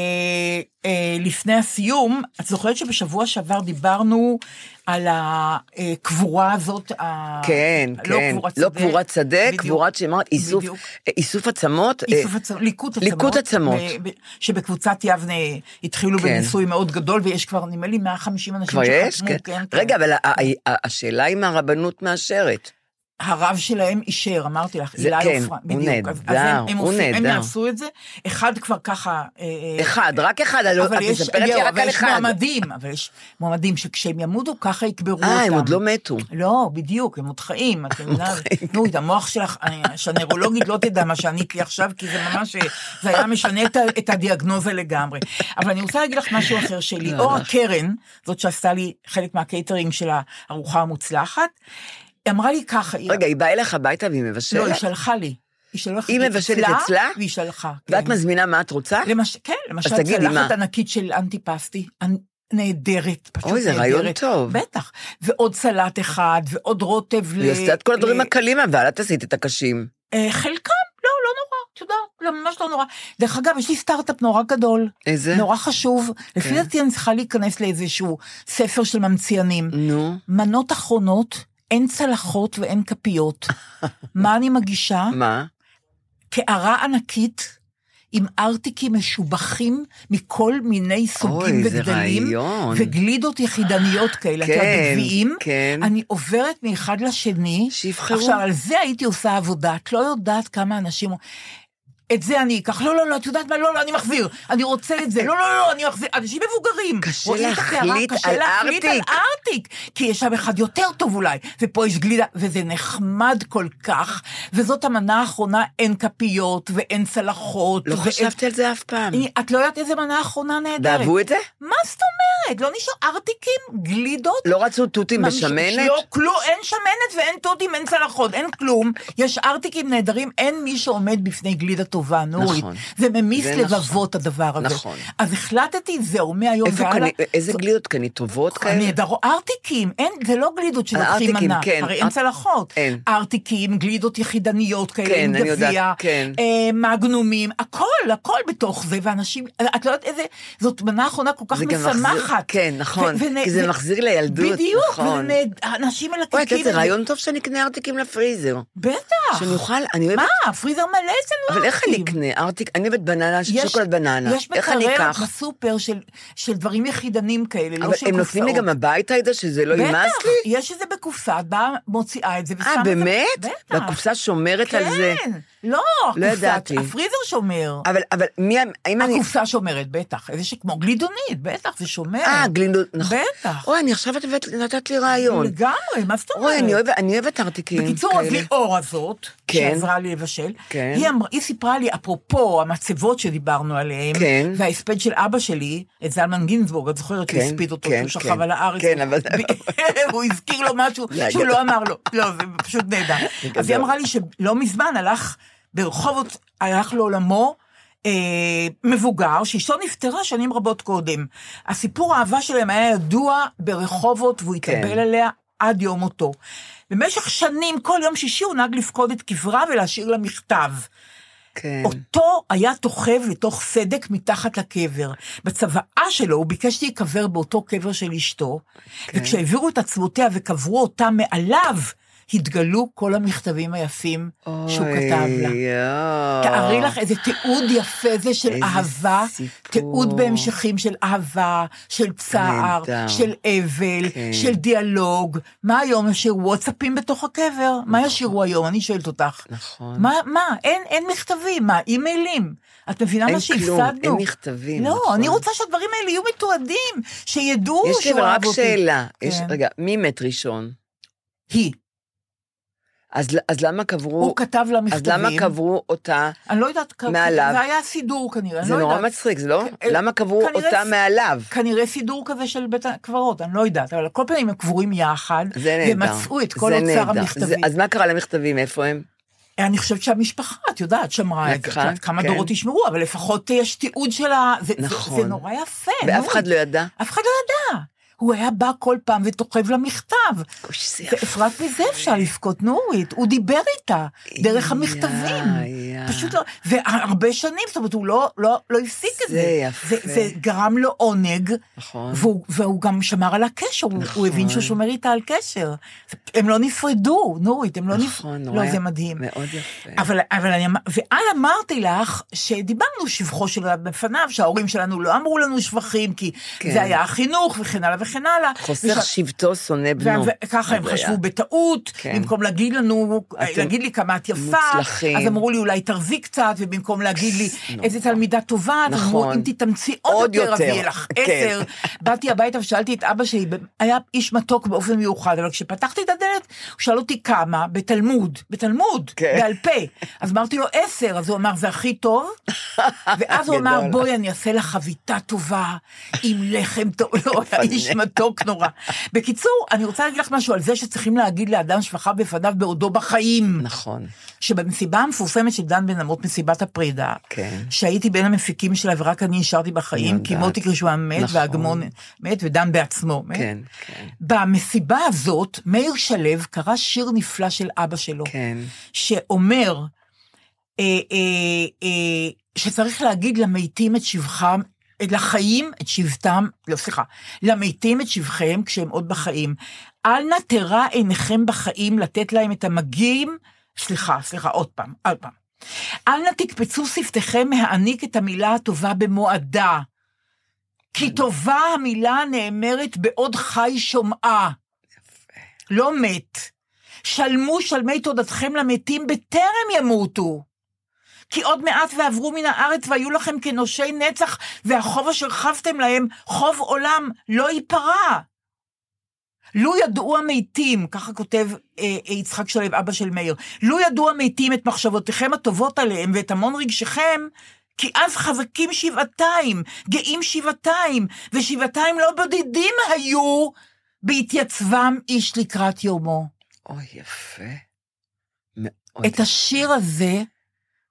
S3: אה, לפני הסיום, את זוכרת שבשבוע שעבר דיברנו על הקבורה הזאת, ה-
S4: כן, כן. לא קבורת שדה,
S3: בדיוק.
S4: קבורת שמה, איסוף-
S3: בדיוק.
S4: איסוף עצמות. אה,
S3: איסוף עצמות, ליקוט עצמות.
S4: ליקוט עצמות.
S3: ב- ב- שבקבוצת יבנה התחילו
S4: כן.
S3: בניסוי מאוד גדול, ויש כבר נדמה לי 150 אנשים
S4: כבר
S3: שחתמו.
S4: יש? כן. רגע, אבל ה- ה- ה- השאלה אם הרבנות מאשרת.
S3: הרב שלהם אישר, אמרתי לך,
S4: זה-
S3: אילי
S4: כן,
S3: עופרה,
S4: הוא
S3: בדיוק.
S4: נהדר,
S3: אז- אז הם- הם
S4: הוא
S3: עושים- הם
S4: נהדר.
S3: יעשו את זה, אחד כבר ככה... אה, אה,
S4: אחד, רק אחד, אני לא- את
S3: אבל יש,
S4: מספרת לי
S3: יואו,
S4: רק
S3: אבל
S4: על
S3: יש
S4: אחד.
S3: מועמדים, אבל יש מועמדים שכשהם ימותו ככה יקברו אותם.
S4: אה, הם עוד לא מתו.
S3: לא, בדיוק, הם עוד חיים, את יודעת. נו, את המוח שלך, אה, שהנוירולוגית לא תדע מה שענית לי עכשיו, כי זה ממש, אה, זה היה משנה את ה- את הדיאגנוזה לגמרי. אבל אני רוצה להגיד לך משהו אחר שלי.
S4: אה.
S3: אורה קרן, זאת שעשתה לי חלק מהקייטרינג של הארוחה המוצלחת, היא אמרה לי ככה, היא-
S4: רגע, היא באה אליך הביתה והיא מבשלת?
S3: לא, היא שלחה לי. היא שלחה
S4: היא
S3: לי
S4: מבשלת אצלה?
S3: והיא שלחה.
S4: ואת
S3: כן.
S4: מזמינה מה את רוצה?
S3: למש... כן, למשל
S4: תגידי, מה?
S3: צלחת ענקית של אנטיפסטי, אנ... נהדרת, פשוט
S4: אוי, זה
S3: נהדרת.
S4: רעיון טוב.
S3: בטח. ועוד סלט אחד, ועוד רוטב ל...
S4: היא עשתה את כל הדברים
S3: ל-
S4: הקלים, אבל את עשית את הקשים.
S3: אה, חלקם, לא, לא נורא, את יודעת, לא, ממש לא נורא. דרך אגב, יש לי סטארט-אפ נורא גדול,
S4: איזה?
S3: נורא חשוב. לפי
S4: כן.
S3: דעתי אני צריכה להיכנס לאיזשהו ספר של ממציאנים.
S4: נו.
S3: מנות אחרונות, אין צלחות ואין כפיות. מה אני מגישה?
S4: מה?
S3: קערה ענקית. עם ארטיקים משובחים מכל מיני סוגים
S4: אוי, זה
S3: וגדלים,
S4: רעיון.
S3: וגלידות יחידניות כאלה, את יודעת,
S4: כן,
S3: בגביעים,
S4: כן.
S3: אני עוברת מאחד לשני,
S4: שיבחרו.
S3: עכשיו, על זה הייתי עושה עבודה, את לא יודעת כמה אנשים... את זה אני אקח, לא, לא, לא, את יודעת מה, לא, לא, אני מחזיר, אני רוצה את זה, לא, לא, לא, אני מחזיר, אנשים מבוגרים.
S4: קשה
S3: רואים את הקערה,
S4: להחליט
S3: קשה
S4: על
S3: להחליט על
S4: ארטיק.
S3: ארטיק, כי יש שם אחד יותר טוב אולי, ופה יש גלידה, וזה נחמד כל כך, וזאת המנה האחרונה, אין כפיות, ואין צלחות,
S4: לא
S3: ואין-
S4: חשבתי על זה אף פעם.
S3: אני- את לא יודעת איזה מנה אחרונה נהדרת.
S4: ואהבו את זה?
S3: מה זאת אומרת? לא נשאר ארטיקים, גלידות,
S4: לא רצו תותים
S3: ממש-
S4: בשמנת?
S3: לא, כלום, אין שמנת ואין תותים, אין צלחות, אין כלום. יש ארטיקים נהדרים, אין מי שעומד בפני גלידה טובה, נורית.
S4: נכון.
S3: זה ממיס
S4: זה
S3: לבבות הדבר הזה.
S4: נכון.
S3: אז החלטתי, זהו, מהיום
S4: איפה
S3: והלאה.
S4: קנית- איזה גלידות קנית טובות כאלה?
S3: נהדרות, ארטיקים, אין, זה לא גלידות שלוקחים
S4: כן. אה, ארטיקים,
S3: מנה,
S4: כן.
S3: הרי אין
S4: אר-
S3: צלחות.
S4: אין.
S3: ארטיקים, גלידות יחידניות כאלה,
S4: כן,
S3: עם
S4: אני יודעת,
S3: גביע,
S4: כן.
S3: אה, מגנומים, הכל, הכל בתוך זה, ואנשים, את לא יודעת איזה, זאת מנה אחרונה כל כך
S4: זה גם
S3: משמחת.
S4: מחזיר- כן, נכון,
S3: ונה-
S4: כי זה
S3: ו-
S4: מחזיר לילדות,
S3: בדיוק,
S4: נכון.
S3: ונה- אנשים
S4: אוי,
S3: מלקקים.
S4: את יודעת, זה
S3: את זה.
S4: רעיון טוב שנקנה ארטיקים לפריזר.
S3: בטח.
S4: שנוכל, אני אוהבת...
S3: מה, הפריזר מלא אצלנו
S4: אבל איך אני
S3: ארטיקים.
S4: אקנה ארטיק? אני אוהבת בננה,
S3: יש-
S4: שוקולד בננה.
S3: יש
S4: איך אני
S3: מקרר
S4: אקח?
S3: בסופר של- של דברים יחידנים כאלה, לא של
S4: אבל
S3: קופסאות.
S4: הם נותנים לי גם הביתה את זה, שזה לא יימס
S3: בטח,
S4: לי?
S3: יש את זה בקופסה, את באה, מוציאה את זה ושמה
S4: אה,
S3: את זה.
S4: באמת?
S3: בטח.
S4: והקופסה שומרת על זה.
S3: כן, לא,
S4: לא
S3: הקופסה-
S4: ידעתי.
S3: הפריזר שומר.
S4: אבל, אבל מי, האם אני...
S3: הקופסה שומרת, בטח. איזה שכמו גלידונית, בטח, זה שומר.
S4: אה, גלינדות, נכון.
S3: בטח.
S4: אוי, אני עכשיו את הבאת- נתת לי רעיון.
S3: לגמרי, מה זאת אומרת?
S4: אוי, אני אוהבת, אני אוהבת ארטיקים.
S3: בקיצור, אז
S4: כאלה.
S3: ליאור הזאת,
S4: כן.
S3: שעזרה לי לבשל,
S4: כן.
S3: היא, אמר, היא סיפרה לי, אפרופו המצבות שדיברנו עליהן,
S4: כן.
S3: וההספד של אבא שלי, את זלמן גינזבורג, את זוכרת שהוא
S4: כן,
S3: הספיד אותו,
S4: כן,
S3: שהוא שכב
S4: כן.
S3: על הארץ,
S4: כן, אבל-
S3: ב- הוא הזכיר לו משהו
S4: להגיד.
S3: שהוא לא אמר לו, לא, זה פשוט נהדר. אז היא
S4: גדול.
S3: אמרה לי שלא מזמן הלך ברחובות, הלך לעולמו, אה, מבוגר שאשתו נפטרה שנים רבות קודם. הסיפור האהבה שלהם היה ידוע ברחובות והוא
S4: כן.
S3: התאבל עליה עד יום מותו. במשך שנים, כל יום שישי הוא נהג לפקוד את קברה ולהשאיר לה מכתב.
S4: כן.
S3: אותו היה תוכב לתוך סדק מתחת לקבר. בצוואה שלו הוא ביקש להיקבר באותו קבר של אשתו,
S4: כן.
S3: וכשהעבירו את עצמותיה וקברו אותה מעליו, התגלו כל המכתבים היפים שהוא כתב לה.
S4: אוי, יואו.
S3: תארי לך איזה תיעוד יפה זה של
S4: איזה
S3: אהבה,
S4: סיפור.
S3: תיעוד בהמשכים של אהבה, של צער,
S4: נהדר.
S3: של אבל,
S4: כן.
S3: של דיאלוג. מה היום ישיר וואטסאפים בתוך הקבר? מה ישירו היום? אני שואלת אותך.
S4: נכון.
S3: מה, מה, אין, אין מכתבים, מה, אימיילים. את מבינה
S4: אין
S3: מה
S4: כלום,
S3: שהפסדנו?
S4: אין מכתבים,
S3: לא,
S4: נכון.
S3: אני רוצה שהדברים האלה יהיו מתועדים, שידעו
S4: יש לי
S3: שהוא
S4: רק
S3: אהב אותי.
S4: שאלה. יש-
S3: כן.
S4: רגע, מי מת ראשון?
S3: היא,
S4: אז ל- אז למה קברו...
S3: הוא כתב לה
S4: אז
S3: מכתבים.
S4: למה קברו אותה?
S3: אני לא יודעת, כ-
S4: מעליו?
S3: זה היה סידור כנראה, אני
S4: זה
S3: לא
S4: נורא
S3: יודעת.
S4: מצחיק, זה לא?
S3: אה,
S4: למה קברו
S3: כנראה
S4: אותה
S3: ס-
S4: מעליו?
S3: כנראה סידור כזה של בית הקברות, אני לא יודעת, אבל על כל פנים הם קבורים יחד,
S4: זה נהדר.
S3: ומצאו את כל
S4: זה
S3: אוצר
S4: נהדר.
S3: המכתבים.
S4: זה- אז מה קרה למכתבים? איפה הם?
S3: אני חושבת שהמשפחה, את יודעת, שמרה את זה, את
S4: לקחה,
S3: יודעת, כמה
S4: כן.
S3: דורות ישמרו, אבל לפחות יש תיעוד של ה... זה- זה-
S4: נכון.
S3: זה נורא יפה.
S4: ואף
S3: כן, נו.
S4: אחד לא ידע.
S3: אף אחד לא ידע. הוא היה בא כל פעם ותוכב לה מכתב.
S4: אוי, זה יפה.
S3: ואפרת מזה אפשר לבכות נורית, הוא דיבר איתה דרך
S4: יא,
S3: המכתבים.
S4: יא.
S3: פשוט לא, והרבה שנים, זאת אומרת, הוא לא, לא, לא הפסיק את זה.
S4: זה יפה.
S3: זה, זה גרם לו עונג,
S4: נכון.
S3: והוא, והוא גם שמר על הקשר, הוא, הוא
S4: נכון.
S3: הבין שהוא שומר איתה על קשר. הם לא נפרדו, נורית, הם לא נפרדו.
S4: נכון, נורא.
S3: לא, זה מדהים.
S4: מאוד יפה.
S3: אבל, אבל אני, אמר- ועל אמרתי לך שדיברנו שבחו של אדם בפניו, שההורים שלנו לא אמרו לנו שבחים, כי
S4: כן.
S3: כן. זה היה החינוך וכן הלאה וכן הלאה.
S4: חוסך שבטו שונא בנו.
S3: וככה הם
S4: זה היה.
S3: חשבו בטעות,
S4: כן.
S3: במקום להגיד לנו,
S4: אתם
S3: להגיד לי כמה את יפה,
S4: מוצלחים.
S3: אז אמרו לי אולי תרזי קצת, ובמקום להגיד לי
S4: נורא.
S3: איזה תלמידה טובה, אז אמרו
S4: נכון.
S3: אם תתאמצי עוד
S4: עוד
S3: יותר, אז
S4: יותר."
S3: יהיה לך
S4: כן.
S3: עשר. באתי הביתה ושאלתי את אבא שלי, היה איש מתוק באופן מיוחד, אבל כשפתחתי את הדלת, הוא שאל אותי כמה, בתלמוד, בתלמוד,
S4: כן.
S3: בעל פה. אז אמרתי לו עשר, אז הוא אמר זה הכי טוב, ואז הוא אמר
S4: גדול.
S3: בואי אני אעשה לך חביתה טובה, עם לחם טוב, לא, היה איש מתוק נורא. בקיצור, אני רוצה להגיד לך משהו על זה שצריכים להגיד לאדם שבחה בפניו בעודו בחיים.
S4: נכון.
S3: שבמסיבה המפורסמת של דן בן אמות, מסיבת הפרידה,
S4: כן.
S3: שהייתי בין המפיקים שלה ורק אני נשארתי בחיים,
S4: יודעת.
S3: כי מוטי קרישמן מת,
S4: נכון.
S3: והגמון מת, ודן בעצמו מת.
S4: כן, כן,
S3: במסיבה הזאת, מאיר שלו קרא שיר נפלא של אבא שלו,
S4: כן.
S3: שאומר אה, אה, אה, שצריך להגיד למתים את שבחם, את- לחיים את שבטם, לא סליחה, למתים את שבחיהם כשהם עוד בחיים. אל נא תרע עיניכם בחיים לתת להם את המגעים, סליחה, סליחה, עוד פעם, עוד פעם. אל נא תקפצו שפתיכם מהעניק את המילה הטובה במועדה. כי טובה המילה הנאמרת בעוד חי שומעה. לא מת. שלמו שלמי תודתכם למתים בטרם ימותו. כי עוד מעט ועברו מן הארץ והיו לכם כנושי נצח, והחוב אשר חבתם להם, חוב עולם, לא ייפרע. לו ידעו המתים, ככה כותב אה, אה, יצחק שלו, אבא של מאיר, לו ידעו המתים את מחשבותיכם הטובות עליהם ואת המון רגשכם, כי אז חזקים שבעתיים, גאים שבעתיים, ושבעתיים לא בודדים היו בהתייצבם איש לקראת יומו.
S4: אוי, יפה. מאוד.
S3: את השיר הזה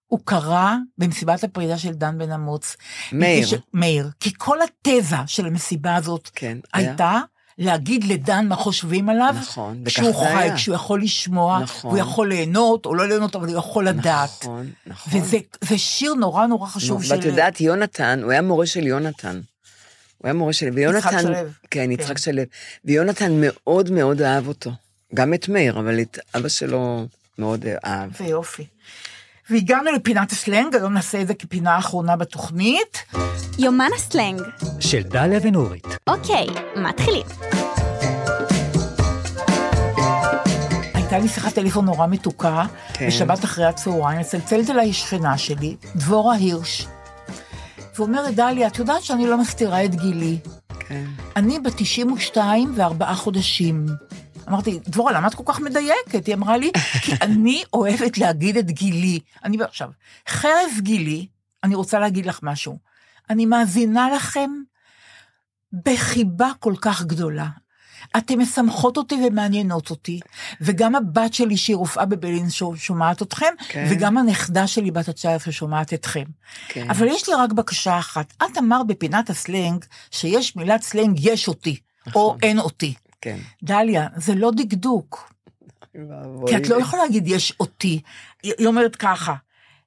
S3: הוא קרא במסיבת הפרידה של דן בן אמוץ.
S4: מאיר.
S3: מפני ש- מאיר. כי כל התזה של המסיבה הזאת
S4: כן. היה?
S3: הייתה להגיד לדן מה חושבים עליו,
S4: נכון, וכך
S3: כשהוא
S4: זה
S3: חי,
S4: היה.
S3: כשהוא יכול לשמוע,
S4: נכון.
S3: הוא יכול ליהנות או לא ליהנות, אבל הוא יכול לדעת.
S4: נכון, נכון.
S3: וזה זה שיר נורא נורא חשוב
S4: נו, ואת
S3: של-
S4: יודעת, יונתן, הוא היה מורה של יונתן. הוא היה מורה של... ויונתן...
S3: שלו.
S4: כן, יצחק
S3: כן.
S4: שלו. ויונתן מאוד מאוד אהב אותו. גם את מאיר, אבל את אבא שלו מאוד אהב.
S3: זה יופי. והגענו לפינת הסלנג, היום נעשה את זה כפינה אחרונה בתוכנית.
S5: יומן הסלנג.
S6: של דליה ונורית.
S5: אוקיי, מתחילים.
S3: הייתה לי שיחת טלפון נורא מתוקה,
S4: כן.
S3: בשבת אחרי הצהריים, מצלצלת אליי שכנה שלי, דבורה הירש, ואומרת, דליה, את יודעת שאני לא מסתירה את גילי.
S4: כן.
S3: אני בת 92 וארבעה חודשים. אמרתי, דבורה, למה את כל כך מדייקת? היא אמרה לי, כי אני אוהבת להגיד את גילי. אני עכשיו, חרף גילי, אני רוצה להגיד לך משהו. אני מאזינה לכם בחיבה כל כך גדולה. אתן משמחות אותי ומעניינות אותי, וגם הבת שלי שהיא רופאה בבלין ש- שומעת אתכם,
S4: כן.
S3: וגם הנכדה שלי בת ה-19 שומעת אתכם.
S4: כן.
S3: אבל יש לי רק בקשה אחת. את אמרת בפינת הסלנג שיש מילת סלנג יש אותי, או
S4: נכון.
S3: אין אותי.
S4: כן.
S3: דליה, זה לא דקדוק, כי את לא יכולה להגיד יש אותי. היא היא אומרת ככה,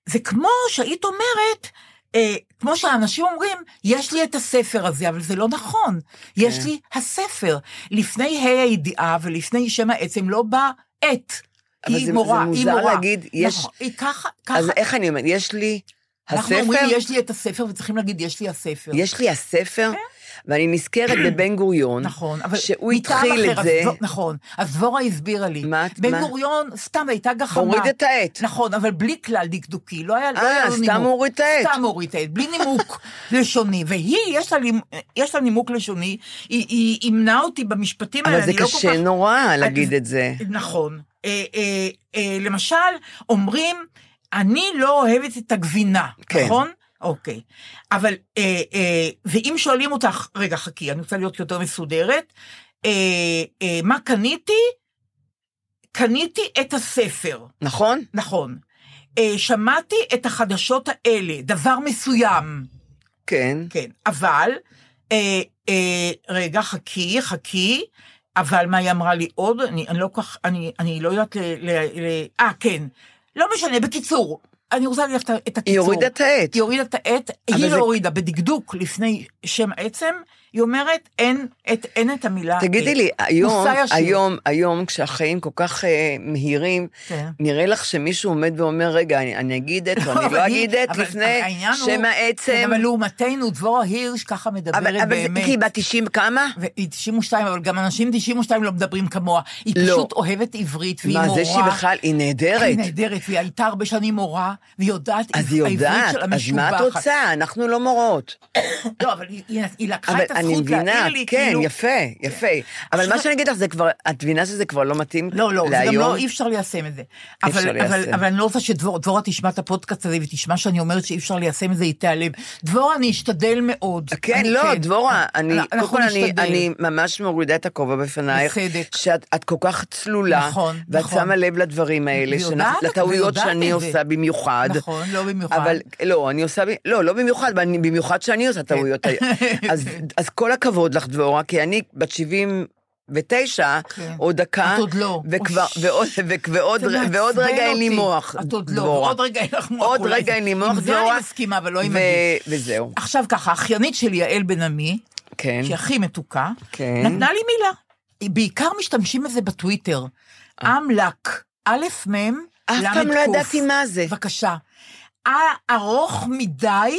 S3: זה כמו שהיית אומרת, אה, כמו שאנשים אומרים, יש לי את הספר הזה, אבל זה לא נכון. יש
S4: כן.
S3: לי הספר. לפני ה' הידיעה ולפני שם העצם לא בא את.
S4: אבל
S3: היא
S4: זה-
S3: מורה,
S4: זה
S3: היא
S4: מוזר
S3: מורה.
S4: להגיד, יש-
S3: נכון, היא ככה, ככה.
S4: אז איך אני אומרת? יש לי
S3: אנחנו אומרים,
S4: הספר?
S3: יש לי את הספר, וצריכים להגיד, יש לי הספר.
S4: יש לי הספר? ואני נזכרת בבן גוריון.
S3: כן. נכון, אבל...
S4: שהוא
S3: מטעם
S4: התחיל
S3: אחר,
S4: את
S3: אז
S4: זה.
S3: דבור- נכון, אז דבורה הסבירה לי.
S4: מה את-
S3: בן
S4: מה?
S3: גוריון סתם הייתה גחמה.
S4: הוריד את העט.
S3: נכון, אבל בלי כלל דקדוקי, לא היה לא
S4: אה,
S3: היה לו
S4: סתם
S3: נימוק.
S4: הוא הוריד את העט.
S3: סתם הוריד את העט, בלי נימוק לשוני. והיא, יש לה לימ- יש לה נימוק לשוני, היא- היא ימנה אותי במשפטים האלה,
S4: אבל זה
S3: אני לא כל
S4: קשה
S3: כך-
S4: נורא להגיד
S3: אני-
S4: את זה.
S3: נכון. אה, אה, אה, למשל, אומרים, אני לא אוהבת את הגבינה,
S4: כן.
S3: נכון? אוקיי. אבל, אה, אה, ואם שואלים אותך, רגע, חכי, אני רוצה להיות יותר מסודרת, אה, אה, מה קניתי? קניתי את הספר,
S4: נכון?
S3: נכון. אה, שמעתי את החדשות האלה, דבר מסוים.
S4: כן.
S3: כן, אבל, אה, אה, רגע, חכי, חכי, אבל מה היא אמרה לי עוד? אני, אני לא כל כך, אני, אני לא יודעת ל... ל- ל- אה, כן. לא משנה, בקיצור, אני רוצה להגיד לך את ה- את הקיצור.
S4: היא הורידה את העט.
S3: היא הורידה את העט, היא לא
S4: זה-
S3: הורידה, בדקדוק, לפני שם עצם, היא אומרת, אין את, אין את המילה...
S4: תגידי
S3: עט."
S4: לי, היום,
S3: מושא ישיר.
S4: היום, היום, כשהחיים כל כך אה, מהירים,
S3: כן.
S4: נראה לך שמישהו עומד ואומר, רגע, אני, אני אגיד את, או אני
S3: אבל
S4: לא
S3: היא-
S4: אגיד את,
S3: אבל
S4: לפני
S3: העניין הוא- כן,
S4: שם העצם.
S3: אבל לעומתנו, דבורה הירש ככה מדברת
S4: אבל, אבל זה,
S3: באמת.
S4: כי היא בת 90 כמה?
S3: והיא 92, אבל גם אנשים 92 לא מדברים כמוה. היא
S4: לא.
S3: פשוט אוהבת עברית, והיא
S4: מה,
S3: מורה.
S4: זה שהיא בכלל, היא
S3: היא
S4: נהדרת.
S3: נהדרת, והיא הייתה הרבה שנים מורה, והיא יודעת
S4: אז היא
S3: העברית
S4: יודעת,
S3: של
S4: אז מה את
S3: המשובחת.
S4: רוצה? אנחנו לא מורות.
S3: לא, אבל היא, היא, היא לקחה
S4: אבל
S3: את הספר.
S4: אני
S3: הזכות
S4: מבינה,
S3: להעיר לי,
S4: כן,
S3: כאילו...
S4: יפה, יפה. אבל
S3: עכשיו-
S4: מה שאני אגיד לך, זה כבר, את מבינה שזה כבר לא מתאים
S3: לא, לא, זה גם
S4: להיום?
S3: לא, אי אפשר ליישם את זה.
S4: אי
S3: אבל,
S4: אפשר
S3: אבל,
S4: ליישם.
S3: אבל אני לא רוצה שדבורה תשמע את הפודקאסט הזה ותשמע שאני אומרת שאי אפשר ליישם את זה, היא תיעלם. דבורה, אני אשתדל מאוד.
S4: כן,
S3: אני-
S4: לא, דבורה, אני,
S3: אנחנו
S4: קודם כל אני,
S3: נשתדל.
S4: אני ממש מורידה את הכובע בפנייך.
S3: בצדק.
S4: שאת את כל כך צלולה.
S3: נכון,
S4: ואת
S3: נכון.
S4: שמה לב לדברים האלה,
S3: ויודעת,
S4: שאנחנו- לטעויות
S3: ויודעת
S4: שאני
S3: את זה.
S4: עושה במיוחד.
S3: נכון, כן. לא במיוחד.
S4: אבל, לא, אני עושה, ב- לא, לא במיוחד, אבל אני- במיוחד שאני עושה טעויות. אז, אז כל הכבוד לך, דבורה, כי אני בת 70... ותשע,
S3: כן.
S4: עוד דקה,
S3: את עוד לא.
S4: וכבר,
S3: אוש.
S4: ועוד, ו- ועוד,
S3: זה מעצבן
S4: ועוד רגע אין לי
S3: אותי.
S4: מוח,
S3: את עוד לא,
S4: דבורה.
S3: עוד רגע אין לך מוח.
S4: עוד
S3: אולי.
S4: רגע אין לי מוח,
S3: עם זה
S4: דבורה.
S3: אני מסכימה, אבל לא עם אה,
S4: ו-
S3: עדי.
S4: וזהו,
S3: עכשיו ככה, האחיינית שלי, יעל בן עמי,
S4: כן.
S3: שהיא הכי מתוקה,
S4: כן.
S3: נתנה לי מילה. היא- בעיקר משתמשים בזה בטוויטר. אמל"ק, א' מ',
S4: אה. אף
S3: ל'
S4: פעם לא
S3: ק'.
S4: ידעתי מה זה.
S3: בבקשה. "אה, ארוך מדי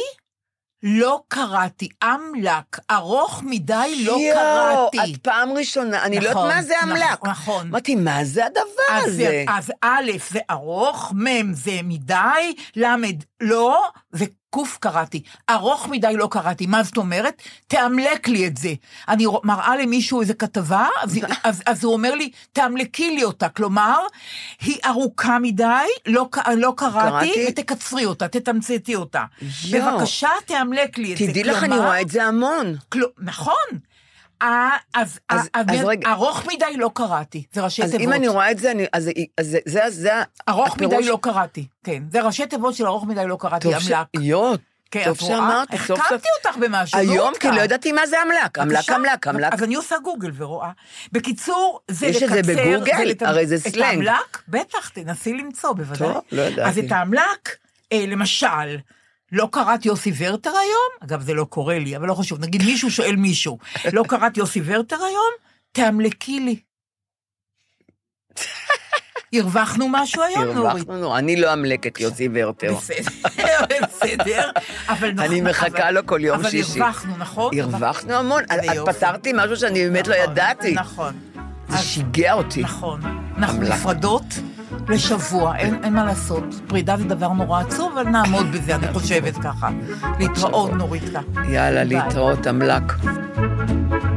S3: לא קראתי. אמל"ק, ארוך מדי לא
S4: יואו,
S3: קראתי.
S4: את פעם ראשונה, אני לא
S3: נכון,
S4: יודעת מה זה
S3: נכון,
S4: אמל"ק.
S3: נכון.
S4: אמרתי, מה זה הדבר
S3: אז, זה-
S4: הזה?
S3: אז א' זה ארוך, מ' זה מדי, ל' לא, וק' קראתי. ארוך מדי לא קראתי. מה זאת אומרת? תאמלק לי את זה. אני רוא- מראה למישהו איזה כתבה, אז, אז, אז הוא אומר לי, תאמלקי לי אותה. כלומר, היא ארוכה מדי, לא, ק- לא קראתי,
S4: קראתי.
S3: ותקצרי אותה, תתמצתי אותה.
S4: יואו.
S3: בבקשה, תאמלק לי את זה.
S4: תדעי לך, אני
S3: כלומר-
S4: רואה את זה המון.
S3: כל... נכון. אה, אז,
S4: אז-
S3: אה,
S4: אז רגע.
S3: ארוך מדי לא קראתי, זה ראשי
S4: אז
S3: תיבות.
S4: אם אני רואה את זה, אני- אז זה- אז זה- זה- זה
S3: ארוך
S4: הפירוש-
S3: מדי לא קראתי, כן. זה ראשי תיבות של ארוך מדי לא קראתי,
S4: טוב ש-
S3: אמל"ק.
S4: יואו,
S3: כן,
S4: טוב
S3: את רואה?
S4: שאמרת, סוף סוף.
S3: החכמתי אותך במשהו.
S4: היום, כי
S3: אותך.
S4: לא ידעתי מה זה אמל"ק. אמל"ק,
S3: בבקשה.
S4: אמל"ק, אמל"ק.
S3: אז אני עושה גוגל ורואה. בקיצור, זה
S4: יש
S3: לקצר.
S4: את זה בגוגל?
S3: ולתמ-
S4: הרי זה
S3: את
S4: סלנג.
S3: האמל"ק? בטח, תנסי למצוא בוודאי.
S4: טוב, לא ידעתי.
S3: אוקיי. אז את האמל"ק, אה, למשל, לא קראת יוסי ורטר היום? אגב, זה לא קורה לי, אבל לא חשוב. נגיד מישהו שואל מישהו, לא קראת יוסי ורטר היום? תאמלקי לי. הרווחנו משהו היום, נורית?
S4: הרווחנו נורא. אני לא אמלקת יוסי ורטר.
S3: בסדר, בסדר, אבל נכון.
S4: אני מחכה
S3: אבל-
S4: לו כל יום שישי.
S3: אבל הרווחנו, נכון?
S4: הרווחנו המון.
S3: זה
S4: את
S3: יופי.
S4: פתרתי משהו שאני באמת לא
S3: נכון,
S4: ידעתי.
S3: נכון.
S4: זה
S3: אז-
S4: שיגע אותי.
S3: נכון. אנחנו
S4: אמל"ק.
S3: נפרדות לשבוע, אין אין מה לעשות. פרידה זה דבר נורא עצוב, אבל נעמוד בזה, אני חושבת ככה. להתראות, נורית ככה. ביי.
S4: יאללה, להתראות, אמל"ק.